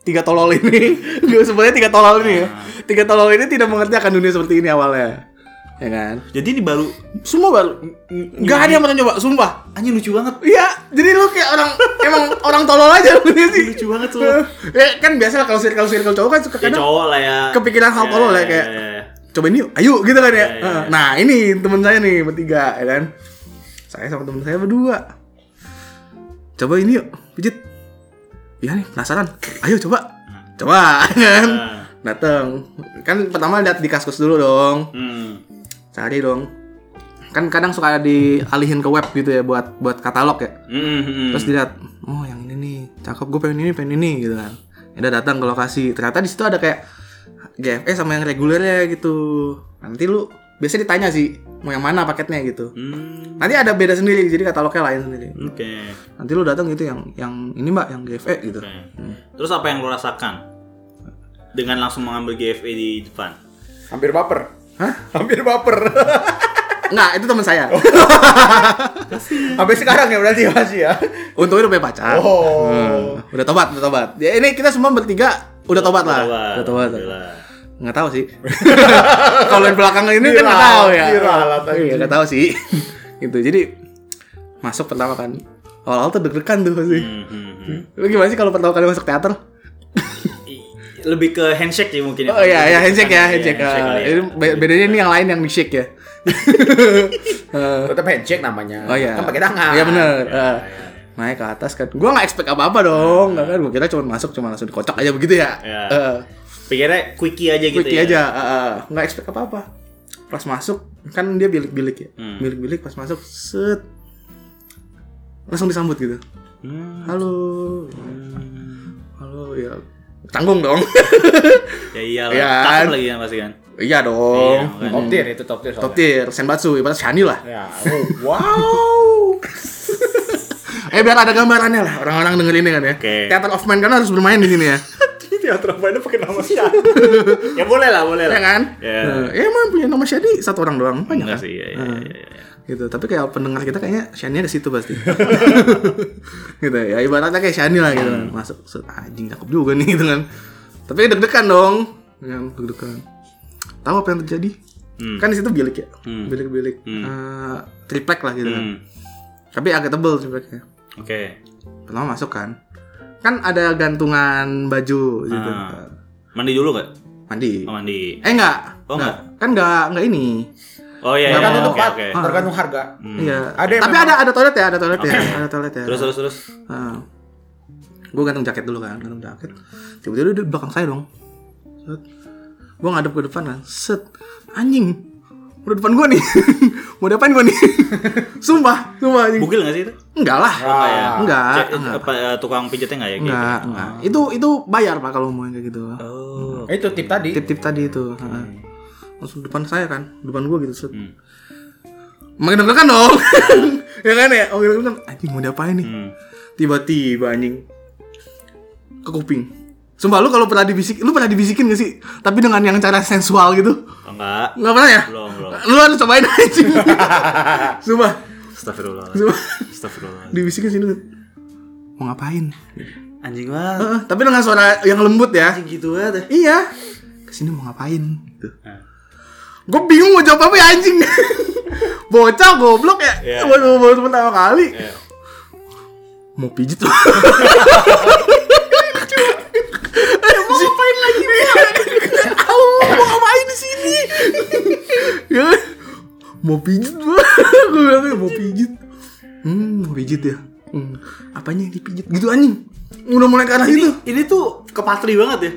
S1: tiga tolol ini gue sebenarnya tiga tolol ini ya
S2: Nah.
S1: tiga tolol ini tidak mengerti akan dunia seperti ini awalnya ya kan
S2: Jadi ini baru
S1: semua baru nggak ada yang pernah nyoba sumpah
S2: anjing lucu banget.
S1: Iya, jadi lu kayak orang emang orang tolol aja lu sih.
S2: Lucu banget lu.
S1: ya kan biasa lah kalau circle circle cowok kan suka
S2: Ya
S1: kadang
S2: cowok lah ya.
S1: kepikiran hal tolol ya, kayak-
S2: ya.
S1: cobain yuk, ayo gitu kan ya.
S2: Iya, iya, iya.
S1: Nah ini teman saya nih bertiga, ya kan. Saya sama teman saya berdua. Coba ini yuk, pijit. Iya nih penasaran. Ayo coba, coba. Kan?
S2: Nah.
S1: Dateng. Kan pertama lihat di kaskus dulu dong.
S2: Hmm.
S1: Cari dong. Kan kadang suka dialihin ke web gitu ya buat buat katalog ya.
S2: Hmm, hmm.
S1: Terus dilihat, oh yang ini nih, cakep gue pengen ini, pengen ini gitu kan. Ya Udah datang ke lokasi, ternyata di situ ada kayak GFS sama yang regulernya gitu. Nanti lu biasanya ditanya sih mau yang mana paketnya gitu.
S2: Hmm,
S1: Nanti ada beda sendiri, jadi katalognya lain sendiri.
S2: Oke.
S1: Nanti lu datang gitu yang yang ini mbak, yang GFE gitu.
S2: Oke. Terus apa yang lo rasakan dengan langsung mengambil GFE di depan?
S3: Hampir baper.
S1: Hah?
S3: Hampir baper.
S1: Nggak, itu teman saya.
S3: Sampai sekarang ya berarti masih ya.
S1: Untungnya udah punya pacar.
S3: Oh.
S1: Hmm, udah tobat, udah tobat. Ya ini kita semua bertiga udah tobat lah. Udah tobat.
S2: Alhamdulillah.
S1: Nggak tahu sih. Kalau yang belakangan ini kan nggak tahu ya.
S3: Diralat aja.
S1: Iya nggak tahu sih. gitu. Jadi masuk pertama kan. Awal-awal tuh deg-degan tuh pasti.
S2: Hmm, hmm, hmm.
S1: Lu gimana sih kalau pertama kali masuk teater?
S2: I- Lebih ke handshake ya mungkin.
S1: Oh iya, ya handshake ya, handshake.
S2: Iya,
S1: Ah,
S2: kali ya.
S1: ini be- bedanya ini yang lain yang shake ya. Eh,
S3: Tetap handshake namanya.
S1: oh iya.
S3: Kan pakai tangan.
S1: Iya bener. Eh, naik ke atas kan. Gua nggak expect apa-apa dong. Nggak kan gua kira cuma masuk cuma langsung dikocok aja begitu ya.
S2: Iya.
S1: Eh,
S2: Pikirnya quickie aja gitu
S1: Quickie
S2: ya.
S1: aja, ah, ah. nggak expect apa-apa. Pas masuk kan dia bilik-bilik ya,
S2: Hmm.
S1: bilik-bilik pas masuk set langsung disambut gitu.
S2: Hmm.
S1: Halo, halo ya tanggung dong.
S2: Ya iyalah.
S1: Iya.
S2: Takut lagi kan pasti kan.
S1: iya
S2: Iya,
S1: dong.
S2: makanya.
S3: Top tier itu top tier.
S1: Top
S3: soalnya.
S1: tier, senbatsu, ibarat shani lah.
S3: Ya. Oh, wow.
S1: Eh biar ada gambarannya lah, orang-orang dengerin ini kan ya.
S2: Oke.
S1: Theater of Man kan harus bermain di sini ya,
S3: Ini teater apa ini pakai nama siapa?
S2: ya boleh lah, boleh lah.
S1: ya kan?
S2: Iya.
S1: Nah, ya emang punya nama Shani satu orang doang, banyak
S2: Enggak
S1: kan?
S2: sih, iya, iya,
S1: Nah.
S2: iya, iya.
S1: gitu tapi kayak pendengar kita kayaknya Shani ada situ pasti gitu ya ibaratnya kayak Shani lah gitu
S2: Hmm.
S1: kan. masuk set, anjing cakep juga nih gitu kan tapi deg-degan dong ya, deg-degan tahu apa yang terjadi
S2: Hmm.
S1: kan di situ bilik ya
S2: Hmm.
S1: bilik-bilik
S2: Hmm.
S1: Eh, triplek lah gitu kan
S2: Hmm.
S1: tapi agak tebel tripleknya
S2: Oke.
S1: pertama masuk kan kan ada gantungan baju gitu
S2: Ah. Mandi dulu gak?
S1: mandi
S2: Oh, mandi.
S1: eh enggak
S2: Oh, enggak?
S1: kan enggak enggak ini
S2: Oh iya, iya,
S3: Tergantung
S2: iya. Oke,
S3: tempat,
S2: oke. Hmm.
S3: tergantung harga.
S1: iya
S3: Ada yang
S1: tapi
S3: memang-
S1: ada ada toilet ya ada toilet ya ada toilet ya
S2: Terus, terus, terus.
S1: gue Ah. gantung jaket dulu kan, gantung jaket. Tiba-tiba dia di belakang saya dong. Set. Gue ngadep ke depan kan, set. Anjing, udah depan gue nih. Mau depan gue nih. sumpah, sumpah anjing.
S2: Bugil gak sih itu?
S1: Enggak lah.
S2: Apa ya?
S1: Enggak,
S2: Cek-
S1: enggak.
S2: apa, eh, tukang pijatnya nggak ya? Gitu?
S1: Enggak, enggak. Itu itu bayar Pak kalau mau yang kayak gitu.
S2: Oh.
S3: Itu tip tadi.
S1: Tip-tip tadi itu. heeh. Langsung depan saya kan, depan gue gitu. Set.
S2: Hmm.
S1: Makin deg-degan dong. ya kan ya? Makin deg-degan. Anjing mau diapain nih?
S2: Hmm.
S1: tiba-tiba anjing ke kuping sumpah lu kalau pernah dibisik lu pernah dibisikin gak sih tapi dengan yang cara sensual gitu
S2: Oh, enggak.
S1: nggak pernah ya
S2: Belum, belum.
S1: lu harus cobain anjing sumpah
S2: Astagfirullah.
S1: Sumpah.
S2: Astagfirullah.
S1: dibisikin sini mau ngapain
S2: Anjing banget.
S1: Heeh, tapi dengan suara yang lembut ya
S2: Anjing gitu banget.
S1: iya kesini mau ngapain gitu.
S2: Hmm.
S1: gue bingung mau jawab apa ya anjing bocah goblok ya
S2: Iya.
S1: baru baru pertama kali
S2: Iya.
S1: mau pijit tuh mau ngapain lagi Aku mau ngapain di sini? ya kan? mau pijit gua. Gua bilang "Ya, mau pijit. Hmm, mau pijit ya. Hmm. Apanya yang dipijit gitu anjing? Udah mulai ke arah itu.
S2: Ini tuh kepatri banget ya.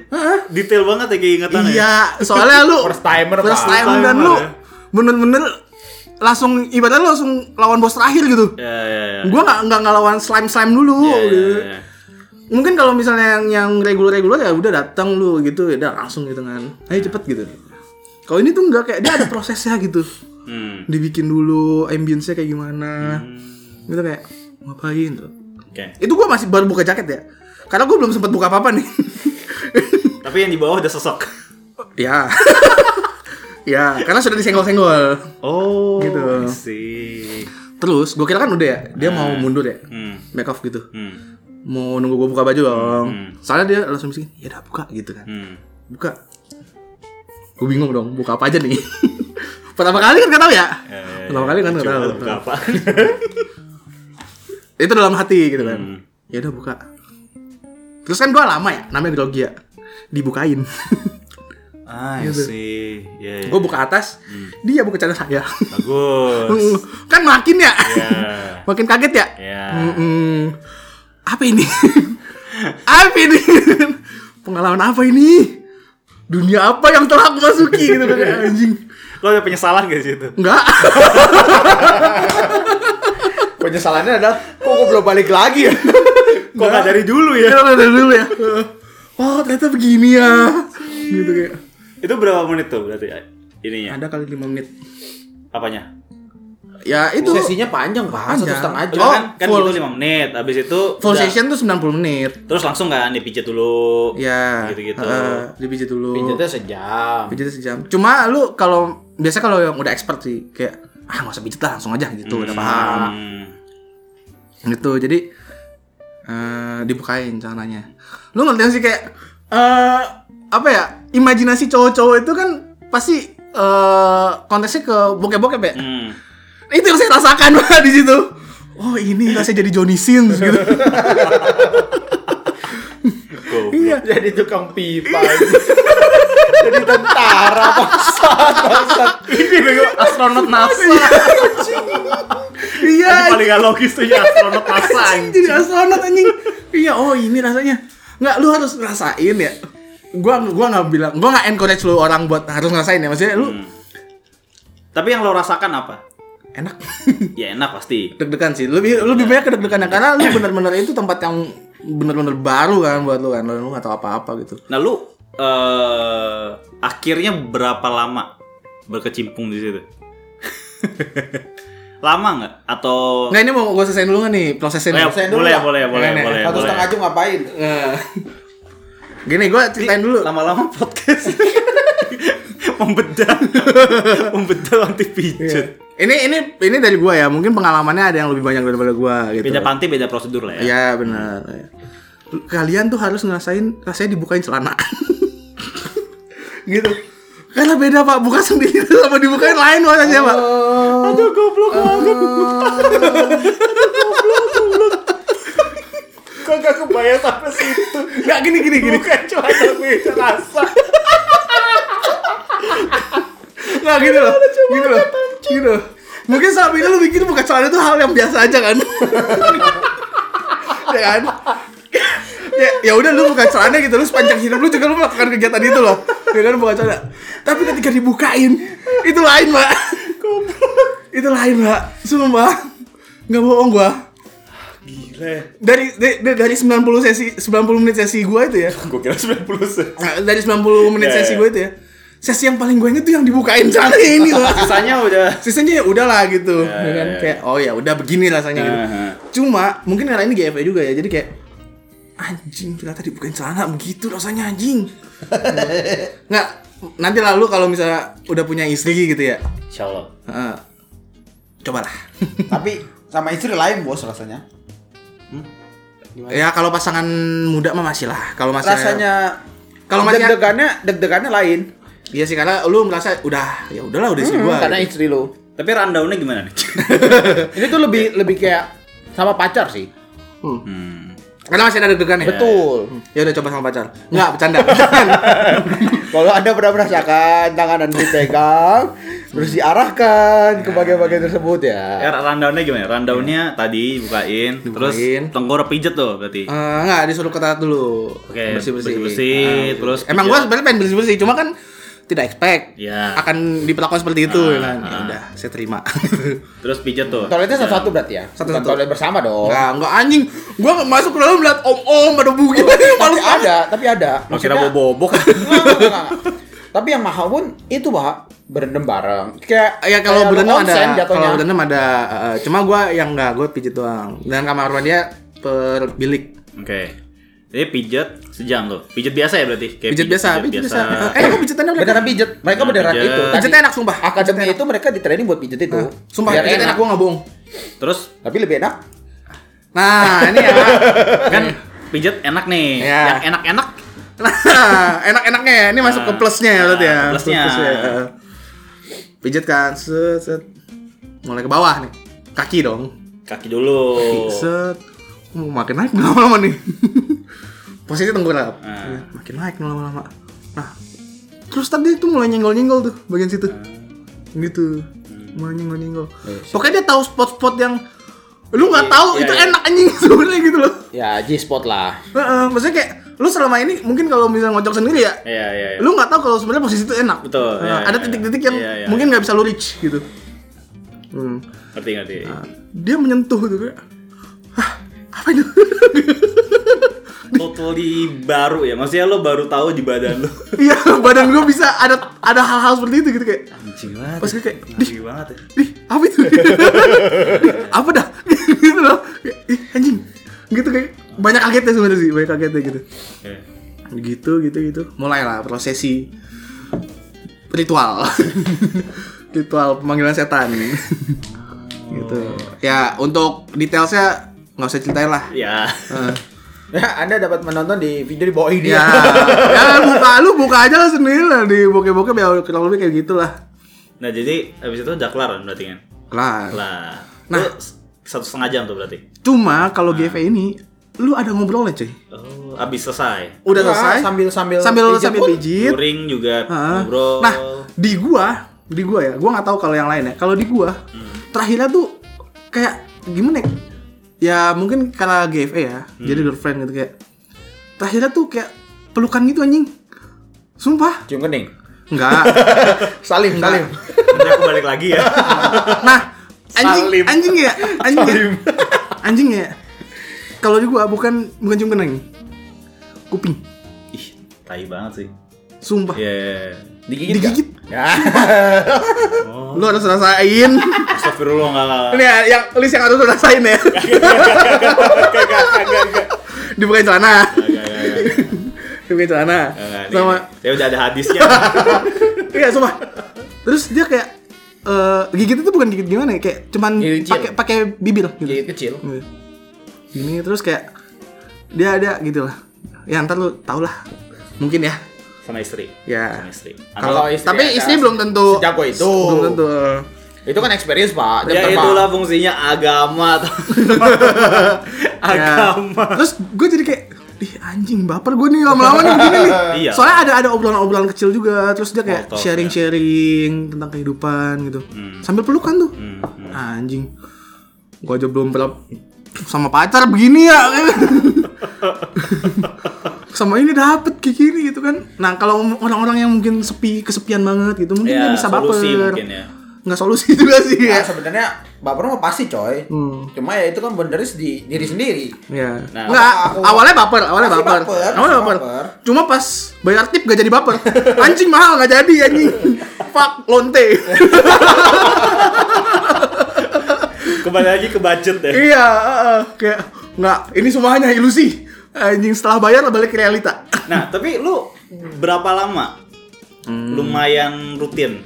S2: Detail banget ya keingetannya.
S1: Iya, soalnya lu
S3: First timer, Pak.
S1: first time
S2: First
S1: dan
S2: timer,
S1: lu
S2: ya.
S1: bener-bener langsung ibaratnya lu langsung lawan bos terakhir gitu.
S2: Ya, ya, ya.
S1: Gua nggak nggak ngelawan slime slime dulu.
S2: Ya, ya,
S1: gitu.
S2: ya.
S1: mungkin kalau misalnya yang yang reguler-reguler ya udah datang lu gitu ya udah langsung gitu kan ayo cepet gitu kalau ini tuh nggak kayak dia ada prosesnya gitu
S2: Hmm.
S1: dibikin dulu ambience-nya kayak gimana
S2: Hmm.
S1: gitu kayak ngapain tuh
S2: Oke.
S1: itu gue masih baru buka jaket ya karena gue belum sempat buka apa apa nih
S2: Tapi yang di bawah udah sesek.
S1: ya ya karena sudah disenggol-senggol
S2: Oh.
S1: Gitu.
S2: I see.
S1: terus gue kira kan udah ya dia mau mundur ya
S2: Hmm.
S1: back off gitu
S2: Hmm.
S1: mau nunggu gue buka baju dong
S2: Hmm.
S1: soalnya dia langsung bising ya udah buka gitu kan
S2: Hmm.
S1: buka gue bingung dong buka apa aja nih pertama kali kan gak tau ya
S2: Eh,
S1: pertama kali kan gak
S2: coba
S1: tau
S2: buka apa?
S1: itu dalam hati gitu kan
S2: Hmm.
S1: ya udah buka terus kan gua lama ya namanya grogi ya dibukain
S2: Ah,
S1: Gitu.
S2: I see. Ya, ya.
S1: gue buka atas dia buka celana saya
S2: Bagus.
S1: kan makin ya
S2: Ya.
S1: makin kaget ya
S2: Ya.
S1: Mm-mm. apa ini apa ini pengalaman apa ini dunia apa yang telah aku masuki gitu kan anjing
S2: Lo ada penyesalan gak sih itu?
S1: enggak
S3: Penyesalannya adalah kok gue belum balik lagi ya.
S2: Kok gak dari dulu ya?
S1: Kenapa dari dulu ya oh ternyata begini ya gitu kayak
S2: Itu berapa menit tuh berarti eh, ininya?
S1: ada kali 5 menit
S2: Apanya?
S1: ya itu
S3: Sesinya panjang pak, satu
S1: Panjang.
S3: setengah jam.
S1: Oh,
S2: kan kan
S1: full.
S2: gitu 5 menit. Habis itu
S1: full
S2: udah.
S1: session tuh 90 menit
S2: Terus langsung kan dipijat dulu.
S1: ya
S2: Gitu-gitu.
S1: heeh, dipijit dulu
S3: Pijatnya sejam.
S1: pijit sejam cuma lu kalau biasa kalau yang udah expert sih kayak ah nggak usah pijit lah langsung aja gitu udah paham
S2: Hmm.
S1: gitu jadi eh dibukain caranya lu ngerti nggak sih kayak eh apa ya imajinasi cowok-cowok itu kan pasti eh konteksnya ke bokep-bokep ya
S2: Hmm.
S1: itu yang saya rasakan Pak, di situ oh ini rasanya jadi Johnny Sins gitu
S2: Go.
S1: iya
S3: Jadi tukang pipa.
S2: Iya,
S3: Jadi tentara paksa.
S2: Ini bego astronot NASA.
S1: iya
S2: Paling gak logis tuh ya astronot NASA.
S1: Anjing, jadi astronot anjing. iya, oh ini rasanya. Nggak, lu harus ngerasain ya. Gua gua nggak bilang, gua nggak encourage lu orang buat harus ngerasain ya. Maksudnya lu
S2: Hmm. Tapi yang lo rasakan apa?
S1: enak
S2: Ya enak pasti.
S1: deg-degan sih. Lebih lebih banyak kedeg-degan ya. karena lu benar-benar itu tempat yang benar-benar baru kan buat lu kan. Lu nggak tahu apa-apa gitu.
S2: Nah lu eh akhirnya berapa lama berkecimpung di situ? lama nggak? Atau
S1: Nah, ini mau gua selesaiin dulu nggak nih prosesnya
S2: Eh,
S1: nih.
S3: Selesain dulu
S2: boleh,
S3: lah. Iya,
S2: boleh, boleh,
S1: Nenek,
S2: boleh,
S3: Satu
S2: boleh.
S3: setengah jam ngapain?
S1: Eh. Gini, gua ceritain dulu.
S2: Lama-lama podcast membedah, membedah anti pijet.
S1: Ini ini ini dari gua ya. Mungkin pengalamannya ada yang lebih banyak daripada gua
S3: Iya.
S1: gitu.
S2: Beda panti, beda prosedur lah ya.
S1: Iya benar. Kalian tuh harus ngerasain rasanya dibukain celana. gitu. Karena beda pak, buka sendiri sama dibukain lain warnanya pak.
S2: Aduh goblok banget.
S3: Kok gak kebayang sampai situ?
S1: Nggak gini gini gini.
S3: cuma beda rasa.
S1: Nggak gini loh. Gini loh. Gini loh. Mungkin selama ini lu bikin buka celana itu hal yang biasa aja kan. ya kan? ya, ya udah lu buka celana gitu lu sepanjang hidup lu juga lu melakukan kegiatan itu loh ya kan buka celana tapi ketika dibukain itu lain mbak itu lain mbak sumpah nggak bohong gua
S2: Gila.
S1: dari dari, dari 90 sesi 90 menit sesi gua itu ya
S2: Gue kira 90 sen.
S1: Nah, dari 90 menit
S2: Ya,
S1: sesi
S2: ya.
S1: gua itu ya sesi yang paling gue inget tuh yang dibukain celana ini loh
S2: Sisanya udah
S1: sisanya ya udahlah gitu
S2: Ya,
S1: ya kan?
S2: ya, ya.
S1: kayak oh ya udah begini rasanya gitu
S2: Aha.
S1: cuma mungkin karena ini GFA juga ya jadi kayak anjing ternyata dibukain celana begitu rasanya anjing nggak nanti lalu kalau misalnya udah punya istri gitu ya
S2: Insyaallah.
S1: Heeh. cobalah
S3: Tapi sama istri lain bos rasanya.
S1: ya kalau pasangan muda mah masih lah kalau masih
S3: Rasanya
S1: Kalau masih-
S3: deg-degannya deg-degannya lain.
S1: iya sih karena lu merasa udah ya udahlah udah
S2: Hmm,
S1: istri gua
S3: Karena
S1: gitu.
S3: istri lo.
S2: Tapi rundownnya gimana nih?
S3: Ini tuh lebih lebih kayak sama pacar sih.
S2: hmm.
S1: karena masih ada deg-degan ya
S3: Betul.
S1: ya udah coba sama pacar nggak bercanda Jangan.
S3: Kalau Anda pernah merasakan tangan Anda dipegang, terus diarahkan ke bagian-bagian tersebut
S2: Ya,
S3: ya.
S2: rundownnya gimana? Rundownnya
S3: Iya.
S2: tadi bukain, terus
S1: Dibukain.
S2: tenggorok pijet tuh berarti.
S1: Eh, enggak, disuruh ke toilet dulu.
S2: Oke,
S1: bersih-bersih.
S2: bersih-bersih,
S1: Ah,
S2: terus
S1: Emang
S2: pijat.
S1: gua sebenarnya pengen bersih-bersih, cuma kan tidak expect
S2: Iya.
S1: akan diperlakukan seperti itu ya
S2: Ah,
S1: kan. Ya
S2: ah.
S1: udah, saya terima.
S2: Terus pijet tuh. Iya.
S3: Toiletnya satu-satu berarti ya?
S1: Satu-satu. Nah.
S3: Bukan Toilet bersama dong.
S1: Enggak, enggak anjing. Gua masuk ke dalam lihat om-om ada bugil.
S3: Tapi
S1: Malu banget.
S3: ada, tapi ada.
S2: Lo kira bobo bobok.
S3: Enggak, enggak, enggak, enggak. Tapi yang mahal pun itu bah berendam bareng. Kayak
S1: Ya kalau
S3: kayak
S1: berendam
S3: onsen
S1: ada,
S3: jatuhnya.
S1: kalau berendam ada. eh, eh, cuma gua yang nggak, gua pijit doang. Dan kamar mandinya per bilik.
S2: Oke. Jadi pijat sejam lo. Pijat biasa ya berarti? Kayak
S1: Pijit biasa, pijit biasa. Eh, kok pijitannya udah.
S3: beneran pijet. Mereka
S2: Nah,
S3: beneran
S2: pijet.
S3: itu. Tadi
S1: Pijitnya enak sumpah.
S3: Akademi itu mereka di training buat Nah, pijet itu.
S1: Sumpah
S3: Biar
S1: pijitnya enak, gua nggak bohong.
S2: Terus
S3: Tapi lebih enak.
S1: Nah, ini ya.
S2: kan pijat enak nih.
S1: Iya.
S2: Yang enak-enak
S1: Nah, enak-enaknya ini masuk ke plusnya ya berarti ya.
S2: Nah, plusnya.
S1: eh. Pijit kan, set, set. Mulai ke bawah nih. Kaki dong.
S2: kaki dulu.
S1: Set. Oh, makin naik nih lama-lama nih. Posisi tengkurap.
S2: Nah.
S1: Makin naik nih lama-lama. Nah, terus tadi itu mulai nyenggol-nyenggol tuh bagian situ.
S2: Ah.
S1: Gitu.
S2: Hmm.
S1: Mulai nyenggol-nyenggol. Pokoknya dia tahu spot-spot yang lu nggak tahu
S2: Oh, Iya,
S1: itu
S2: iya.
S1: enak anjing sebenarnya gitu loh.
S3: Ya G spot lah.
S1: Heeh, maksudnya kayak lu selama ini mungkin kalau misalnya ngocok sendiri ya
S2: Iya, iya, iya.
S1: lu nggak tahu kalau sebenarnya posisi itu enak
S2: Betul,
S1: Nah,
S2: iya,
S1: ada
S2: iya,
S1: titik-titik
S2: iya.
S1: yang
S2: Iya, iya,
S1: mungkin nggak bisa lu reach gitu hmm.
S2: Ngerti ngerti.
S1: dia menyentuh gitu kayak Hah, apa itu
S2: Totally baru ya. Maksudnya lo baru tahu di badan lo.
S1: iya badan gue bisa ada ada hal-hal seperti itu gitu kayak
S2: Anjing banget.
S1: Pas gue kayak,
S2: Ngeri banget ya.
S1: ih apa itu apa dah gitu loh Kayak, ih anjing gitu kayak banyak kagetnya sebenarnya sih banyak kagetnya gitu
S2: Iya.
S1: gitu gitu gitu mulailah prosesi ritual ritual pemanggilan setan gitu
S3: Oh, iya.
S1: ya untuk detailsnya nggak usah ceritain lah
S2: Ya.
S1: Eh,
S3: Ya, Anda dapat menonton di video di bawah ini
S1: ya, ya buka lu buka aja lah sendiri lah di bokeh-bokeh biar kurang lebih kayak gitu gitulah
S2: Nah, jadi habis itu udah kelar kan berarti kan?
S1: kelar
S2: Kelar.
S1: Nah.
S2: Lo s- satu setengah jam tuh berarti.
S1: cuma kalau
S3: Ah.
S1: GV ini lu ada ngobrolnya cuy
S2: Oh, habis selesai.
S1: udah
S3: Iya,
S1: selesai
S3: sambil- sambil
S1: sambil
S3: pijit
S1: sambil
S3: pun.
S1: pijit
S2: Touring juga
S1: Iya. Heeh.
S2: ngobrol.
S1: Nah, di gua, di gua ya, gua nggak tahu kalau yang lain ya. Kalau di gua,
S2: Hmm.
S1: terakhirnya tuh kayak gimana? ya? Ya mungkin karena GFA ya,
S2: Hmm.
S1: jadi girlfriend gitu kayak. Terakhirnya tuh kayak pelukan gitu anjing. Sumpah,
S3: Cium kening. Nah,
S1: enggak.
S3: Salim, salim.
S2: Nanti aku balik lagi ya.
S1: nah, anjing,
S2: Salim.
S1: anjing ya, anjing ya, anjing ya. Kalau di gua bukan bukan cium kening, kuping.
S2: Ih, tai banget sih.
S1: Sumpah,
S2: Iya.
S3: Digigit. nggak?
S1: digigit.
S3: Ya.
S1: Lu harus rasain.
S2: Astagfirullah enggak enggak.
S1: Ini ya, yang list yang harus lu rasain ya. Dibukain celana.
S2: Enggak, enggak, enggak.
S1: Dibukain celana.
S2: Enggak, nih,
S1: Sama
S2: nih. Saya Ya udah ada hadisnya.
S1: iya sumpah. Terus dia kayak eh gigit itu bukan gigit gimana ya? Kayak cuman
S3: Gigit kecil.
S1: pakai pakai bibir
S3: Gigit
S1: gitu.
S3: Ya, kecil.
S1: Gitu. Gini terus kayak dia ada gitu lah. Ya ntar lu tau lah. Mungkin ya.
S2: Sama istri. Sama
S1: Ya.
S2: istri.
S1: Kalau
S3: Kalau istri
S1: tapi
S3: ada
S1: istri belum tentu
S3: sejago itu.
S1: Belum tentu.
S3: Itu kan experience, Pak. Jam
S2: Ya
S3: terbang.
S2: itulah fungsinya agama. Ya. agama.
S1: Ya. Terus gue jadi kayak Ih anjing baper gue nih lama-lama nih begini nih.
S2: Iya.
S1: Soalnya ada ada obrolan-obrolan kecil juga, terus dia kayak
S2: Small talk, iya.
S1: sharing-sharing tentang kehidupan gitu.
S2: Hmm.
S1: Sambil pelukan tuh. Ah, Anjing. Gue aja belum pernah sama pacar begini ya. sama ini dapet kayak gini gitu kan. Nah, kalau orang-orang yang mungkin sepi, kesepian banget gitu, mungkin
S2: Ya,
S1: dia bisa baper.
S2: solusi mungkin ya.
S1: Nggak solusi juga sih
S3: Ya,
S1: ya.
S3: sebenarnya baper mah pasti, coy.
S1: Hmm.
S3: Cuma ya itu kan beneris di diri sendiri.
S1: Ya.
S2: Nah,
S1: Enggak,
S3: aku-
S1: awalnya baper, awalnya
S3: Pasti
S1: baper.
S3: baper,
S1: Awalnya
S3: pasti
S1: baper.
S3: baper.
S1: Cuma pas bayar tip gak jadi baper. Anjing mahal gak jadi anjing. Fuck lonte.
S2: Kembali lagi ke budget ya.
S1: iya, heeh. kayak enggak, ini semua hanya ilusi. Anjing setelah bayar balik ke realita.
S2: Nah, tapi lu berapa lama?
S1: Hmm.
S2: Lumayan rutin.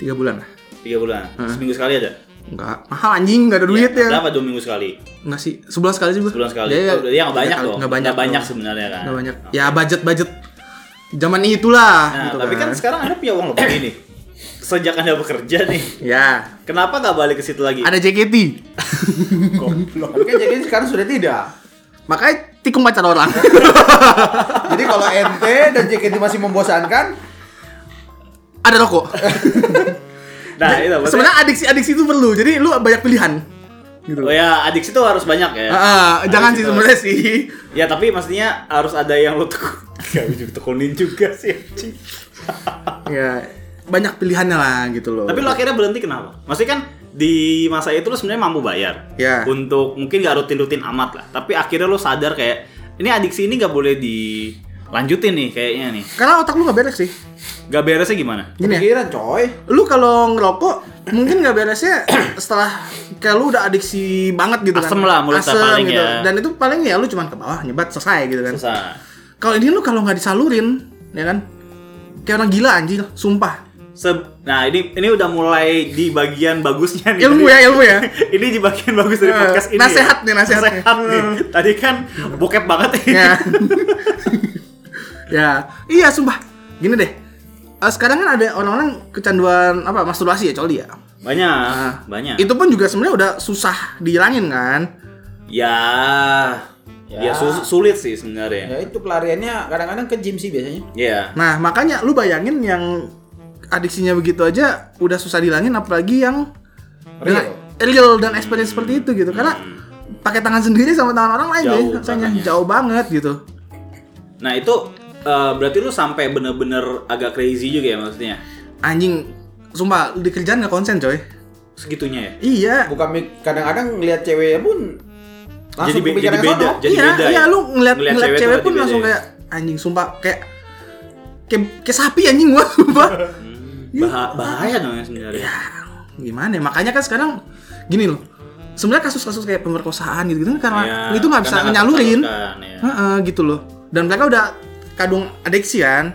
S1: Tiga bulan lah.
S2: Tiga bulan. Seminggu sekali aja.
S1: Enggak, mahal anjing, gak ada duit Hmm. ya.
S2: Iya, Berapa dua minggu sekali?
S1: Enggak sih, sebulan sekali sih gua.
S2: Sebulan sekali.
S1: Iya, iya.
S2: Oh, Iya, nggak banyak
S1: Nggak-
S2: loh.
S1: Nggak banyak.
S2: Nggak banyak
S1: loh.
S2: sebenarnya kan.
S1: Nggak banyak. Ya budget-budget zaman itulah
S2: Nah,
S1: gitu
S2: tapi kan sekarang Anda punya uang lebih nih. Sejak Anda bekerja nih.
S1: Ya,
S2: Kenapa nggak balik ke situ lagi?
S1: ada JKT.
S3: Tapi kan jadi sekarang sudah tidak.
S1: Makanya tikung pacar orang.
S3: Jadi kalau NT dan JKT masih membosankan,
S1: ada rokok.
S2: Nah, itu maksudnya-
S1: Sebenarnya adiksi-adiksi itu perlu. Jadi lu banyak pilihan. Gitu.
S2: Oh ya, adiksi itu harus banyak ya.
S1: Ah,
S2: Adiksi
S1: jangan sih
S2: tuh-
S1: sebenarnya sih.
S2: Ya, tapi maksudnya harus ada yang lu tekun. Gak bisa tekunin juga sih. anjing.
S1: ya, banyak pilihannya lah gitu loh.
S2: tapi lu akhirnya berhenti kenapa? Maksudnya kan di masa itu lu sebenarnya mampu bayar.
S1: Ya.
S2: Untuk mungkin gak rutin-rutin amat lah. Tapi akhirnya lu sadar kayak ini adiksi ini gak boleh di Lanjutin nih kayaknya nih.
S1: Karena otak lu nggak beres sih.
S2: Gak beresnya gimana?
S1: Gini ya.
S3: Pikiran coy.
S1: lu kalau ngerokok mungkin nggak beresnya setelah kayak lu udah adiksi banget gitu
S2: Asem
S1: kan
S2: lah mulut
S1: Asem
S2: paling
S1: gitu.
S2: ya.
S1: dan itu paling ya lu cuman ke bawah nyebat selesai gitu kan
S2: Susah.
S1: kalau ini lu kalau nggak disalurin ya kan kayak orang gila anjir sumpah
S2: Se- nah ini ini udah mulai di bagian bagusnya nih.
S1: ilmu ya ilmu ya
S2: ini di bagian bagus dari
S1: Eh,
S2: podcast ini.
S1: nasehat
S2: ya.
S1: nih, nasehat nih. Hmm.
S2: nih. Tadi kan bokep banget nih.
S1: ya ya iya sumpah gini deh Eh, sekarang kan ada orang-orang kecanduan apa masturbasi ya coli ya
S2: Banyak,
S1: Nah,
S2: banyak.
S1: itu pun juga sebenarnya udah susah dihilangin kan
S2: Ya. Ya,
S3: Ya.
S2: su- sulit sih
S3: Ya
S2: sebenarnya.
S3: itu pelariannya kadang-kadang ke gym sih biasanya.
S2: Iya.
S1: Nah, makanya lu bayangin yang adiksinya begitu aja udah susah dihilangin apalagi yang
S3: Real.
S1: real dan experience seperti itu gitu. Karena pakai tangan sendiri sama tangan orang lain
S2: Jauh,
S1: ya, rasanya
S2: makanya.
S1: jauh banget gitu.
S2: Nah, itu eh, berarti lu sampai bener-bener agak crazy juga ya maksudnya.
S1: Anjing, sumpah di kerjaan gak konsen coy.
S2: Segitunya ya.
S1: Iya.
S3: Bukan mik- kadang-kadang ngelihat cewek pun langsung
S2: be- jadi
S3: kepikiran
S2: beda.
S3: sono.
S2: jadi
S1: iya,
S2: beda
S1: iya
S2: ya?
S1: lu ngeliat,
S2: Ngeliat
S1: ngeliat, cewek,
S2: cewek tuh berarti
S1: pun
S2: beda
S1: langsung
S2: ya?
S1: kayak anjing sumpah kayak kayak, kayak sapi anjing gua sumpah. Hmm. Iya.
S2: Bah- bahaya dong ya sebenarnya.
S1: Gimana ya? Makanya kan sekarang gini loh. Sebenarnya kasus-kasus kayak pemerkosaan gitu, gitu kan karena
S2: Iya,
S1: itu nggak bisa
S2: karena
S1: nyalurin.
S2: tersalurkan, ya.
S1: Heeh, gitu loh. Dan mereka udah kadung adiksi kan.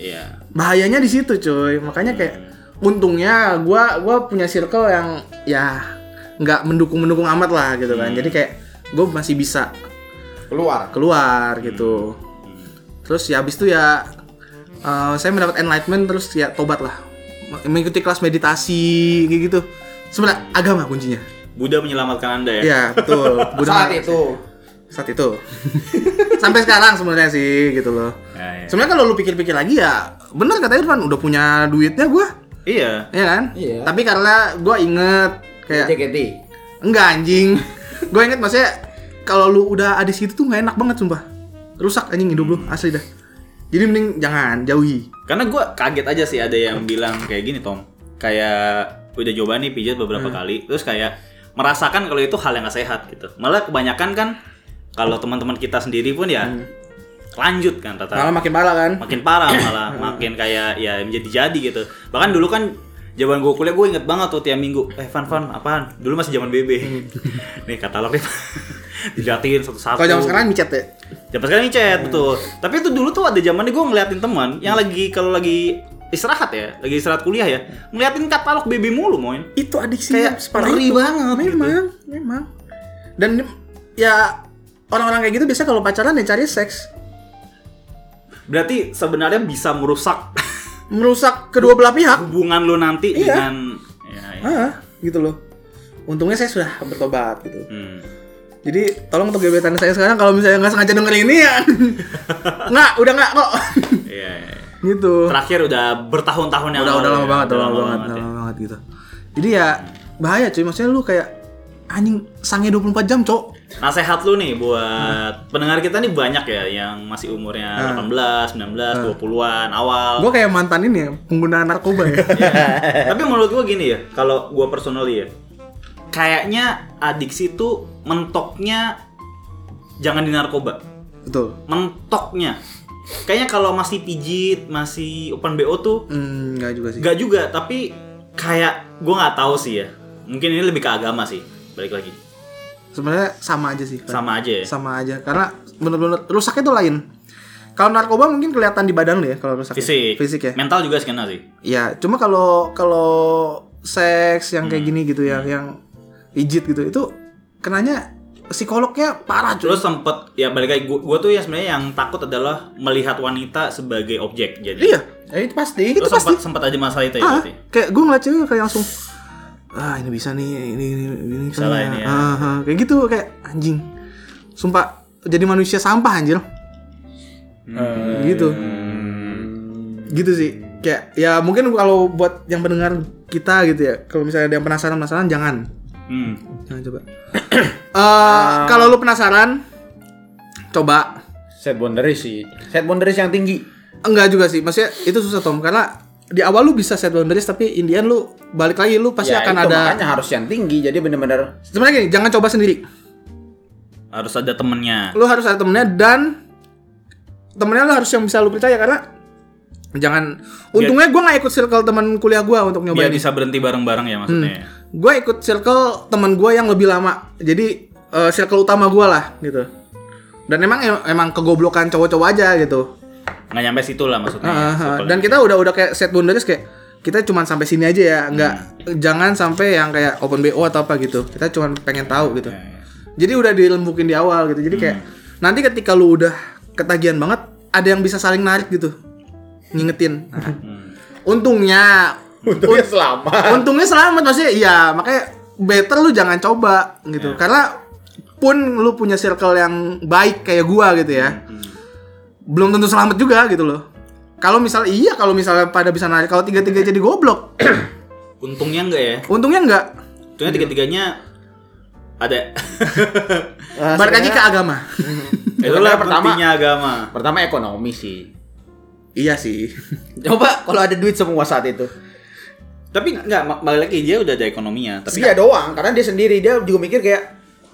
S2: Iya.
S1: Bahayanya di situ, cuy. Makanya kayak untungnya gua gua punya circle yang ya nggak mendukung-mendukung amat lah gitu
S2: Hmm.
S1: kan. Jadi kayak gue masih bisa
S3: Keluar.
S1: keluar
S2: Hmm.
S1: gitu. Terus ya habis itu ya eh, saya mendapat enlightenment terus ya tobat lah. Mengikuti kelas meditasi kayak gitu. Sebenarnya agama kuncinya.
S2: Buddha menyelamatkan Anda ya.
S1: Iya, betul. Buddha-
S3: Saat itu.
S1: saat itu. Sampai sekarang sebenarnya sih gitu loh.
S2: Ya, ya.
S1: Sebenarnya kalau lu pikir-pikir lagi ya bener kata Irfan udah punya duitnya gua,
S2: Iya.
S1: ya kan?
S3: Iya.
S1: Tapi karena gua inget kayak
S3: JKT.
S1: enggak anjing. gua inget maksudnya kalau lu udah ada di situ tuh nggak enak banget sumpah. Rusak anjing hidup lu asli dah. Jadi mending jangan jauhi.
S2: Karena gue kaget aja sih ada yang bilang kayak gini Tom Kayak udah coba nih pijat beberapa
S1: Hmm.
S2: kali Terus kayak merasakan kalau itu hal yang gak sehat gitu Malah kebanyakan kan kalau teman-teman kita sendiri pun ya Lanjut kan
S1: Hmm. Malah
S2: rata
S1: makin parah kan?
S2: Makin parah malah Makin kayak ya menjadi-jadi gitu Bahkan dulu kan Jaman gue kuliah gue inget banget tuh tiap minggu Eh Fan Fan apaan? Dulu masih zaman
S1: Hmm.
S2: BB Nih katalog nih Diliatin satu-satu
S1: Kalau zaman sekarang micet ya.
S2: Zaman sekarang chat betul. Tapi itu dulu tuh ada zamannya gue ngeliatin teman
S1: Hmm.
S2: yang lagi kalau lagi istirahat ya, lagi istirahat kuliah ya, ngeliatin katalog BB mulu, moin.
S1: Itu adiksinya
S2: Kayak
S1: separah
S2: ngeri
S3: Gitu.
S1: itu.
S2: banget
S1: Memang, memang. Dan ya orang-orang kayak gitu biasa kalau pacaran ya cari seks.
S2: Berarti sebenarnya bisa merusak
S1: merusak kedua belah pihak.
S2: hubungan lu nanti
S1: Iya.
S2: dengan ya, ya.
S1: Ah, gitu loh. Untungnya saya sudah bertobat gitu.
S2: Hmm.
S1: Jadi tolong untuk gebetan saya sekarang kalau misalnya nggak sengaja denger ini ya. nggak, udah nggak kok.
S2: Iya, iya, iya.
S1: gitu.
S2: Terakhir udah bertahun-tahun yang
S1: Udah udah
S2: lalu
S1: lama
S2: ya.
S1: banget, udah lama banget, udah
S2: ya.
S1: lama banget gitu. Jadi ya bahaya cuy, maksudnya lu kayak anjing sange 24 jam, Cok.
S2: Nasehat lu nih buat
S1: Hmm.
S2: pendengar kita nih banyak ya yang masih umurnya 18,
S1: Hmm.
S2: 19, 20-an awal.
S1: Gue kayak mantan ini ya, pengguna narkoba ya.
S2: Tapi menurut gua gini ya, kalau gua personally ya, kayaknya adiksi itu mentoknya jangan di narkoba,
S1: Betul.
S2: mentoknya. Kayaknya kalau masih pijit, masih open BO tuh
S1: Hmm, enggak juga sih.
S2: enggak juga, tapi kayak gua nggak tahu sih ya. Mungkin ini lebih ke agama sih, balik lagi.
S1: Sebenarnya sama aja sih. Pak.
S2: Sama aja ya.
S1: sama aja karena bener-bener rusaknya tuh lain kalau narkoba mungkin kelihatan di badan lu ya kalau rusaknya
S2: Fisik.
S1: fisik ya
S2: Mental juga sih kena sih.
S1: ya cuma kalau kalau seks yang
S2: Hmm.
S1: kayak gini gitu ya yang pijit gitu itu kenanya psikolognya parah cuy
S2: Terus sempet ya balik lagi gua, gua tuh ya sebenarnya yang takut adalah melihat wanita sebagai objek. Jadi
S1: iya
S3: Ya itu pasti.
S1: itu
S2: Terus
S1: pasti
S2: sempat sempat ada masalah itu ya
S1: ah,
S2: berarti.
S1: kayak gue ngeliat cewek kayak langsung ah ini bisa nih ini ini ini bisa
S2: Salah
S1: nih,
S2: ini ya."
S1: ah, ah." kayak gitu kayak anjing sumpah jadi manusia sampah anjir gitu gitu sih kayak ya mungkin kalau buat yang pendengar kita gitu ya kalau misalnya ada yang penasaran penasaran jangan
S2: Hmm.
S1: jangan coba Eh, kalau lu penasaran coba
S3: Set boundaries sih. Set boundaries yang tinggi.
S1: enggak juga sih maksudnya itu susah Tom karena di awal lu bisa set boundaries tapi Indian lu balik lagi lu pasti
S3: Ya,
S1: akan
S3: itu
S1: ada
S3: makanya harus yang tinggi. Jadi bener-bener
S1: sebenarnya gini jangan coba sendiri
S2: harus ada temennya
S1: lu harus ada temennya dan temennya lo harus yang bisa lu percaya karena jangan untungnya gue nggak ikut circle teman kuliah gue untuk
S2: Biar
S1: nyobain
S2: bisa berhenti bareng-bareng ya maksudnya.
S1: gue ikut circle teman gue yang lebih lama jadi eh, circle utama gue lah gitu dan emang emang kegoblokan cowok-cowok aja gitu
S2: Nggak nyampe situ lah maksudnya. ya,
S1: Ah, ah,
S2: Circle-nya.
S1: dan kita udah udah kayak set boundaries kayak kita cuman sampai sini aja ya nggak jangan sampai yang kayak open bo atau apa gitu kita cuman pengen tahu gitu
S2: Ya, ya.
S1: jadi udah dilembukin di awal gitu jadi
S3: Hmm.
S1: kayak nanti ketika lu udah ketagihan banget ada yang bisa saling narik gitu ngingetin Nah,
S3: Hmm.
S2: Hmm.
S1: untungnya
S3: Untungnya selama.
S1: untungnya selamat maksudnya iya makanya better lu jangan coba
S3: Iya.
S1: gitu karena pun lu punya circle yang baik kayak gua gitu ya
S3: Hmm,
S1: belum tentu selamat juga gitu loh kalau misalnya iya kalau misalnya pada bisa narik kalau tiga tiga jadi goblok
S2: Untungnya enggak ya.
S1: untungnya enggak
S2: Untungnya tiga-tiganya ada.
S3: Eh,
S1: balik lagi ke agama
S2: Itulah
S3: Karena pertama-
S2: pentingnya agama.
S3: Pertama ekonomi sih.
S1: iya sih
S3: Coba kalau ada duit semua saat itu.
S2: Tapi enggak balik lagi dia udah ada ekonominya, tapi
S3: Dia doang karena dia sendiri dia juga mikir kayak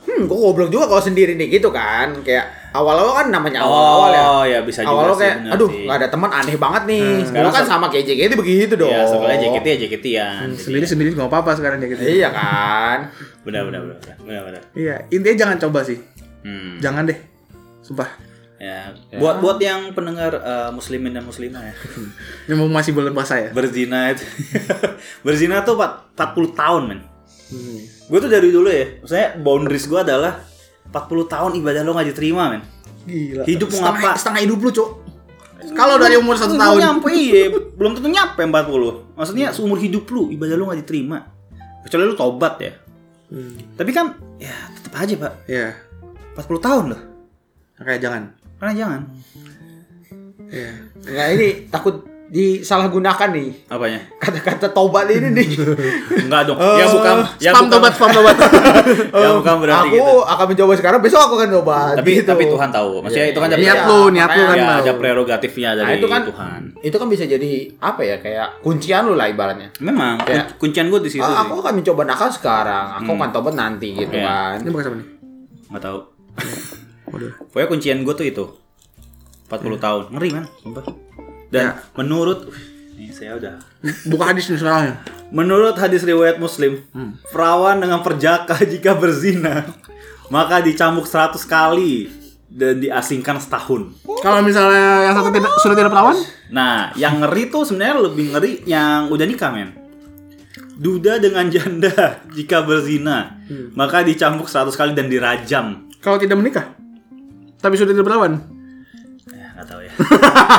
S3: hmm gue goblok juga kalau sendiri nih gitu kan kayak awal-awal kan namanya awal-awal ya
S2: Oh, ya bisa juga
S3: awal-awal
S2: sih,
S3: kayak
S2: bener
S3: aduh
S2: sih.
S3: nggak ada teman aneh banget nih
S1: Hmm,
S3: sekarang Iya,
S2: Sekarang
S3: kan sama kayak JKT begitu dong
S2: ya sekolah JKT ya JKT-an.
S1: sendiri sendiri nggak apa apa sekarang ya gitu
S3: iya kan
S2: Benar benar benar. Benar benar.
S1: iya intinya jangan coba sih
S2: Hmm.
S1: jangan deh sumpah
S2: Ya, buat buat yang pendengar eh, muslimin dan muslimah ya.
S1: ini mau masih bulan puasa ya
S2: Berzina itu. Berzina tuh empat- 40 tahun, men. Gue tuh dari dulu ya, maksudnya boundaries gue adalah 40 tahun ibadah lo gak diterima, men.
S1: gila
S2: Hidup mau
S1: setengah,
S2: apa?
S1: setengah hidup lu cok kalau dari umur satu
S2: Belum
S1: tahun
S2: nyampe, iya. Belum tentu nyampe 40. Maksudnya
S3: Hmm.
S2: seumur hidup lu ibadah lu gak diterima. Kecuali lu tobat ya. Tapi kan ya tetap aja, Pak.
S1: Iya,
S2: 40 tahun loh.
S1: kayak jangan.
S2: Karena jangan.
S1: Iya.
S3: nah ini takut disalahgunakan nih
S2: Apanya?
S3: kata-kata tobat ini nih
S2: Enggak dong. ya bukan ya
S1: spam
S2: bukan,
S1: tobat, spam tobat.
S2: Ya bukan berarti
S3: aku
S2: gitu.
S3: akan mencoba sekarang besok aku akan tobat
S2: Tapi
S3: gitu.
S2: tapi Tuhan tahu. Maksudnya itu kan ada
S1: niat
S3: Iya,
S1: lu, niat lu kan
S2: ya,
S1: tahu.
S2: ada prerogatifnya dari
S3: nah, itu kan
S2: Tuhan.
S3: itu kan bisa jadi apa ya kayak kuncian lu lah ibaratnya
S2: Memang
S3: Ya.
S2: kun- kuncian gue di situ
S3: Ah,
S2: sih.
S3: aku akan mencoba nakal sekarang aku akan tobat nanti gitu
S2: Iya.
S3: kan
S1: Ini bukan sama nih.
S2: Enggak tahu.
S1: Waduh.
S2: Pokoknya kuncian gue tuh itu 40 tahun. Ngeri man, sumpah.
S1: Ya.
S2: Dan menurut ini saya udah
S1: Buka hadis nih soalnya.
S2: Menurut hadis riwayat Muslim, perawan dengan perjaka jika berzina, maka dicambuk 100 kali dan diasingkan setahun.
S1: Kalau misalnya yang satu tidak sudah tidak perawan,
S2: Nah, yang ngeri tuh sebenarnya lebih ngeri yang udah nikah, men. Duda dengan janda jika berzina, maka dicambuk 100 kali dan dirajam.
S1: kalau tidak menikah, tapi sudah tidak perawan.
S2: Ya, nggak tahu ya.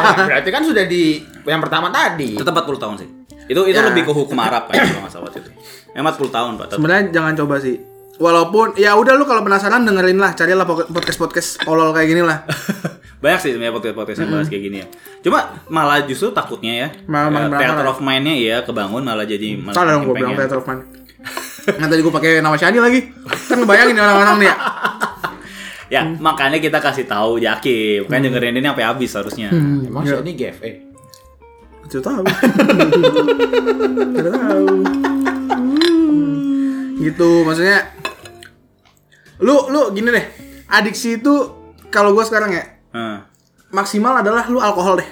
S3: Nah, berarti kan sudah di yang pertama tadi
S2: Tetap 40 tahun sih. Itu itu
S3: Ya.
S2: lebih ke hukum Arab kan kalau nggak salah waktu itu. Emang 40 tahun, Pak. Tetap.
S1: Sebenarnya jangan coba sih. Walaupun ya udah lu kalau penasaran dengerin lah, carilah podcast podcast olol kayak gini lah.
S2: banyak sih sebenarnya podcast-podcast yang bahas kayak gini ya. Cuma malah justru takutnya ya.
S1: Malah
S2: ya,
S1: makin berangkat.
S2: theater of mind-nya ya kebangun malah jadi malah
S1: Salah dong
S2: makin
S1: gue bilang
S2: pengen.
S1: Theater of Mind. Nah tadi gue pakai nama Shani lagi. Kan ngebayangin orang-orang nih ya.
S2: Ya, makanya kita kasih tahu Jaki. Makanya dengerin ini sampai habis harusnya.
S3: emang sih ini E. GFE
S1: Tidak tahu. Tidak tahu. Gitu maksudnya. Lu lu gini deh. Adiksi itu kalau gua sekarang ya
S2: Heeh.
S1: maksimal adalah lu alkohol deh.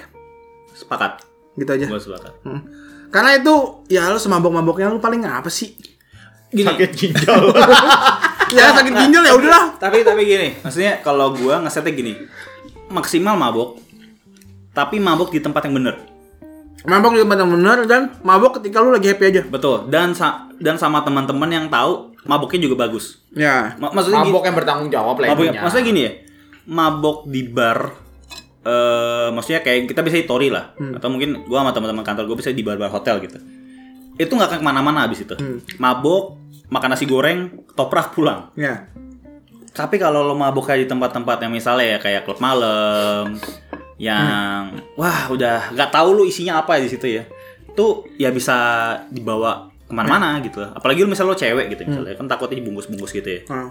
S2: Sepakat.
S1: Gitu aja.
S2: Gue sepakat.
S1: Hmm. Karena itu ya lu semabok-maboknya lu paling apa sih?
S2: Gini.
S3: ginjal
S1: Ya sakit ginjal ya udahlah.
S2: Tapi tapi gini, maksudnya kalau gua ngesetnya gini. Maksimal mabok. Tapi mabok di tempat yang bener
S1: Mabok di tempat yang benar dan mabok ketika lu lagi happy aja.
S2: Betul. Dan sa- dan sama teman-teman yang tahu maboknya juga bagus.
S1: Ya.
S2: Ma- maksudnya gini-
S3: mabok yang bertanggung jawab lah
S2: Mabok,
S3: intinya.
S2: maksudnya gini ya, mabok di bar, eh maksudnya kayak kita bisa di tori lah, atau mungkin gua sama teman-teman kantor gue bisa di bar-bar hotel gitu. Itu nggak akan kemana-mana abis itu. Mabok, makan nasi goreng, toprak pulang.
S1: Ya.
S2: Tapi kalau lo mabok kayak di tempat-tempat yang misalnya ya kayak klub malam, yang wah udah nggak tahu lu isinya apa di situ ya, tuh ya bisa dibawa kemana-mana gitu. Apalagi lu misalnya lo cewek gitu misalnya, kan takutnya dibungkus-bungkus gitu ya
S1: Nah.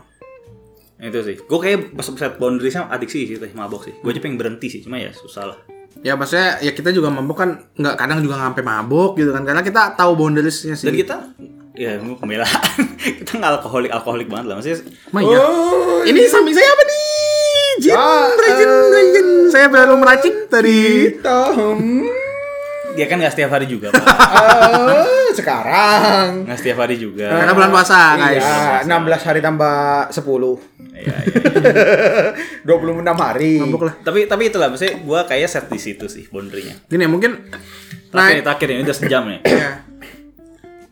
S2: itu sih gue kayak pas set boundariesnya adiksi sih teh mabok sih gue aja pengen berhenti sih cuma ya susah lah
S1: Ya maksudnya ya kita juga mabok kan nggak kadang juga nggak sampai mabok gitu kan karena kita tahu boundariesnya sih.
S2: dan kita ya gue pembelaan
S3: Oh,
S2: kita nggak alkoholik alkoholik banget lah maksudnya
S1: Maya. ini samping saya apa nih? Rajin,
S2: Ya, eh.
S1: rajin, rajin. Saya baru meracik tadi.
S3: gitu. Tom.
S2: Dia kan nggak setiap hari juga, Pak.
S3: Eh, sekarang.
S2: Nggak setiap hari juga.
S1: Karena bulan puasa, guys.
S3: Iya, 16 hari tambah 10.
S2: Iya, iya.
S3: 26 hari.
S1: Mabuk lah.
S2: Tapi tapi itulah maksudnya gue kayak set di situ sih boundary-nya.
S1: Gini ya, mungkin
S2: Terakhir,
S1: Nah,
S2: nih, terakhir ini udah sejam nih.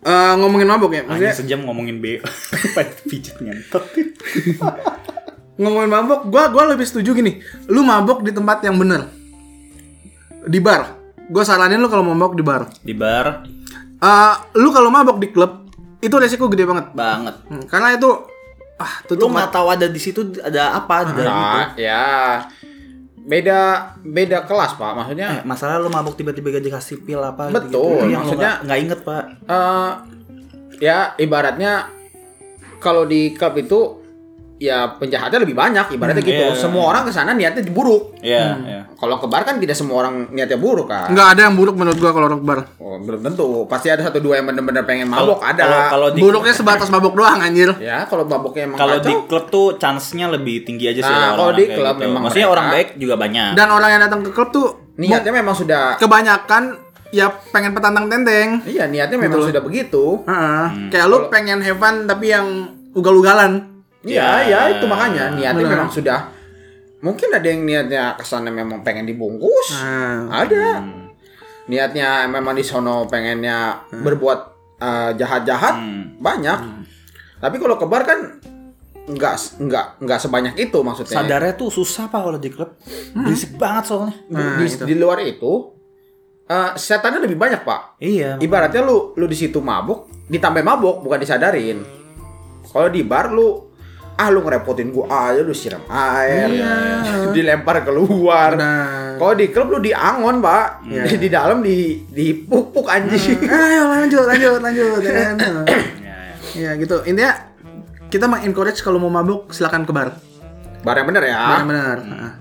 S1: eh, ngomongin mabuk ya.
S2: Hanya
S1: Maksudnya
S2: sejam ngomongin B. Pijet ngentot.
S1: ngomongin mabuk, gua gua lebih setuju gini. Lu mabuk di tempat yang bener. Di bar. Gua saranin lu kalau mau mabuk di bar.
S2: Di bar
S1: Eh, lu kalau mabuk di klub itu resiko gede banget.
S2: banget.
S1: Hmm, Karena itu ah itu
S2: Lu
S1: tempat-
S2: nggak tahu ada di situ ada apa ada gitu.
S3: Nah, ya. Beda beda kelas, Pak. Maksudnya
S2: Eh, masalah lu mabuk tiba-tiba gak dikasih pil apa
S3: Betul,
S2: Itu yang lu
S3: maksudnya-
S2: nggak- nggak inget pak
S3: eh ya ibaratnya kalau di klub itu ya penjahatnya lebih banyak ibaratnya
S2: Hmm,
S3: gitu.
S2: iya.
S3: Semua orang ke sana niatnya buruk.
S2: Iya, iya.
S3: Kalau ke bar kan tidak semua orang niatnya buruk kan.
S1: nggak ada yang buruk menurut gua kalau rock bar.
S3: Oh, belum tentu. Pasti ada satu dua yang benar-benar pengen
S2: Kalau-
S3: mabok ada.
S2: kalau- Kalau di
S1: Buruknya sebatas mabuk doang anjir.
S2: Iya.
S3: ya, kalau maboknya emang
S2: kalau di
S3: kacau,
S2: klub tuh chance-nya lebih tinggi aja sih
S3: Nah,
S2: ada
S3: kalau
S2: orang-orang
S3: di
S2: kayak gitu.
S3: klub memang
S2: Maksudnya
S3: mereka-
S2: orang baik juga banyak.
S1: Dan orang yang datang ke klub tuh
S2: ya.
S3: niatnya memang sudah
S1: kebanyakan ya pengen petantang tenteng.
S3: Iya, niatnya memang sudah begitu.
S1: Heeh.
S2: Hmm.
S1: Kayak lu pengen have fun tapi yang ugal-ugalan.
S3: Iya, ya itu makanya niatnya
S1: Benar.
S3: memang sudah mungkin ada yang niatnya kesana memang pengen dibungkus.
S1: Nah,
S3: Ada. Niatnya memang di sono pengennya berbuat eh, jahat-jahat
S2: Hmm.
S3: banyak. Tapi kalau kebar kan nggak nggak nggak sebanyak itu maksudnya.
S2: Sadarnya tuh susah pak kalau di klub.
S3: Hmm.
S2: Berisik banget soalnya.
S3: Di,
S1: Nah,
S3: di-
S1: itu.
S3: di luar itu eh, setannya lebih banyak pak.
S2: Iya.
S3: Ibaratnya lu lu di situ mabuk, ditambah mabuk bukan disadarin. Kalau di bar lu ah lu ngerepotin gua aja lu siram air, dilempar keluar.
S1: Benar.
S3: Kalau di klub lu diangon pak, di dalam di dipupuk anjing.
S1: Eh, ayo lanjut, lanjut, lanjut. ya kan? Nah,
S2: Iya, iya.
S1: ya gitu. Intinya kita mengencourage kalau mau mabuk silakan ke bar.
S3: Bar yang bener ya.
S1: Benar-benar. Nah,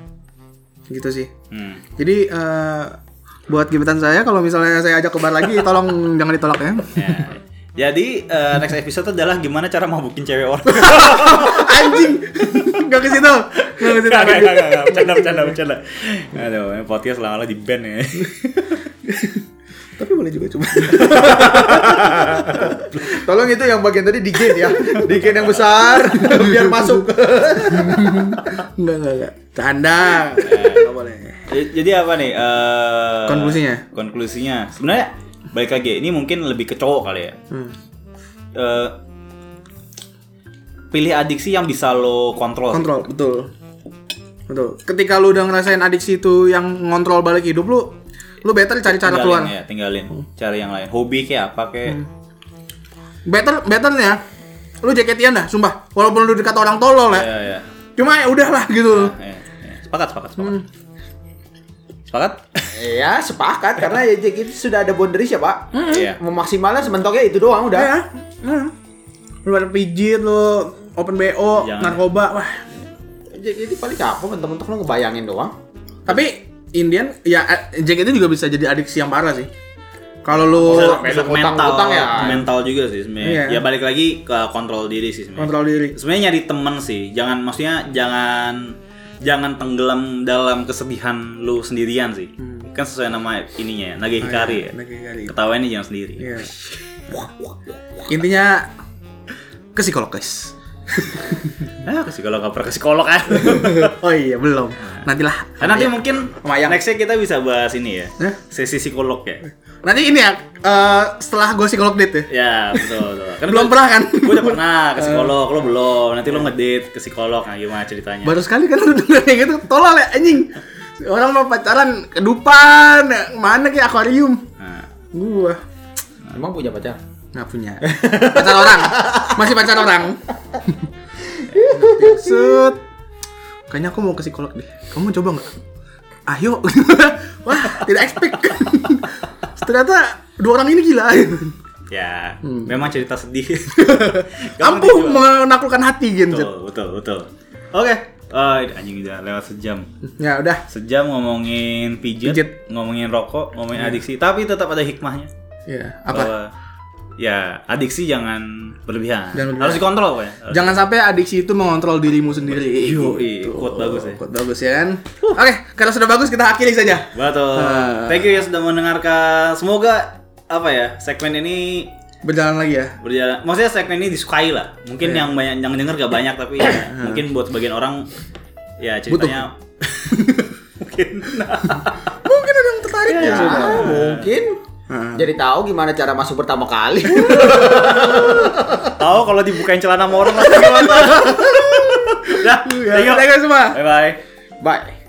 S1: Gitu sih.
S2: Hmm.
S1: Jadi eh, buat gebetan saya kalau misalnya saya ajak ke bar lagi tolong jangan ditolak ya.
S2: Ya. Jadi eh, next episode adalah gimana cara mabukin cewek orang.
S1: Anjing. Gak ke situ. Gak ke situ.
S2: Enggak, enggak, enggak, enggak. Bercanda, bercanda, bercanda. Aduh, ini podcast lama-lama di band ya.
S1: Tapi boleh juga coba.
S3: Tolong itu yang bagian tadi di gain ya. Di gain yang besar biar masuk.
S1: Enggak, enggak, enggak. Canda. Enggak boleh.
S2: J- Jadi apa nih? eh,
S1: Konklusinya?
S2: Konklusinya. Sebenarnya balik lagi ini mungkin lebih ke cowok kali ya.
S1: Hmm.
S2: Eh, pilih adiksi yang bisa lo kontrol.
S1: Kontrol, betul. Betul. Ketika lu udah ngerasain adiksi itu yang ngontrol balik hidup lu, lu better cari cara
S2: tinggalin,
S1: keluar. Hmm.
S2: ya, tinggalin. Cari yang lain. Hobi kayak apa kayak.
S1: Better better ya. Lu jaketian dah, sumpah. Walaupun lu dekat orang tolol ya.
S2: Ya, ya.
S1: Cuma ya udahlah gitu.
S2: Ya, ya. Sepakat, sepakat, sepakat.
S1: Hmm.
S2: Sepakat?
S3: Iya sepakat karena ya jadi sudah ada boundaries ya pak.
S1: Hmm.
S2: Iya.
S3: Memaksimalnya sementoknya itu doang udah.
S1: Ya. Nah. Lu pada pijit lu, open BO,
S2: Jangan.
S1: narkoba, wah.
S3: Jadi paling apa mentok-mentok lo ngebayangin doang.
S1: Tapi Indian ya eh, JKT juga bisa jadi adiksi yang parah sih. Kalau lu
S3: Bisa
S2: mental,
S3: utang-utang ya.
S2: mental juga sih sebenarnya.
S1: Iya.
S2: Ya balik lagi ke kontrol diri sih sebenarnya.
S1: kontrol diri.
S2: sebenarnya nyari temen sih jangan maksudnya jangan jangan tenggelam dalam kesedihan lu sendirian sih
S1: Hmm.
S2: kan sesuai nama ininya ya Nage Hikari ya
S1: Nage Oh, iya. Hikari.
S2: ketawainnya jangan sendiri
S1: Iya. Intinya ke psikolog guys.
S2: ah ke psikolog apa ke psikolog kan
S1: oh iya belum. Nantilah.
S2: nah, nanti mungkin
S3: Lumayan.
S2: nextnya kita bisa bahas ini ya
S1: Hah?
S2: sesi psikolog ya
S1: Nanti ini ya eh, setelah gue psikolog date ya.
S2: ya betul betul Karena
S1: Belum
S2: gua-
S1: pernah kan?
S2: gua udah pernah ke psikolog lo belum nanti
S1: Iya.
S2: lo ngedate ke psikolog nah gimana ceritanya
S1: Baru sekali kan lu denger kayak gitu. Tolol ya anjing. Orang mau pacaran kedupan mana kayak akuarium.
S2: nah,
S1: Gua
S3: Emang punya pacar?
S1: nggak punya. Pacar orang. Masih pacar orang. Set. Kayaknya aku mau ke psikolog deh. Kamu coba nggak? Ayo. Wah, tidak expect. Ternyata dua orang ini gila.
S2: ya
S1: Hmm.
S2: memang cerita sedih Kamu
S1: Ampuh
S2: dijual.
S1: menaklukkan hati Gen Z.
S2: betul betul betul oke eh, anjing udah lewat sejam
S1: Ya udah.
S2: sejam ngomongin pijat,
S1: Pijet.
S2: ngomongin rokok ngomongin adiksi tapi tetap ada hikmahnya
S1: Ya, Iya. apa?
S2: bahwa ya adiksi jangan berlebihan.
S1: Jangan berlebihan.
S2: Harus dikontrol pokoknya. Harus-
S1: Jangan sampai adiksi itu mengontrol dirimu sendiri. Gitu.
S2: Yo, i, quote bagus ya.
S1: Quote bagus ya. kan? Oke, kalau sudah bagus kita akhiri saja.
S2: Betul.
S1: Ah.
S2: Thank you ya sudah mendengarkan. Semoga apa ya segmen ini
S1: Berjalan lagi ya.
S2: berjalan. Maksudnya segmen ini disukai lah. Mungkin
S1: Iya.
S2: yang banyak yang denger gak banyak tapi ya, mungkin buat sebagian orang ya ceritanya mungkin.
S1: Mungkin ada yang tertarik ya.
S3: Ya, mungkin jadi tahu gimana cara masuk pertama kali.
S2: Tahu kalau dibukain celana sama orang langsung gimana? Dah,
S1: Ya,
S2: Iya, thank you.
S1: thank you semua.
S2: Bye bye.
S3: Bye.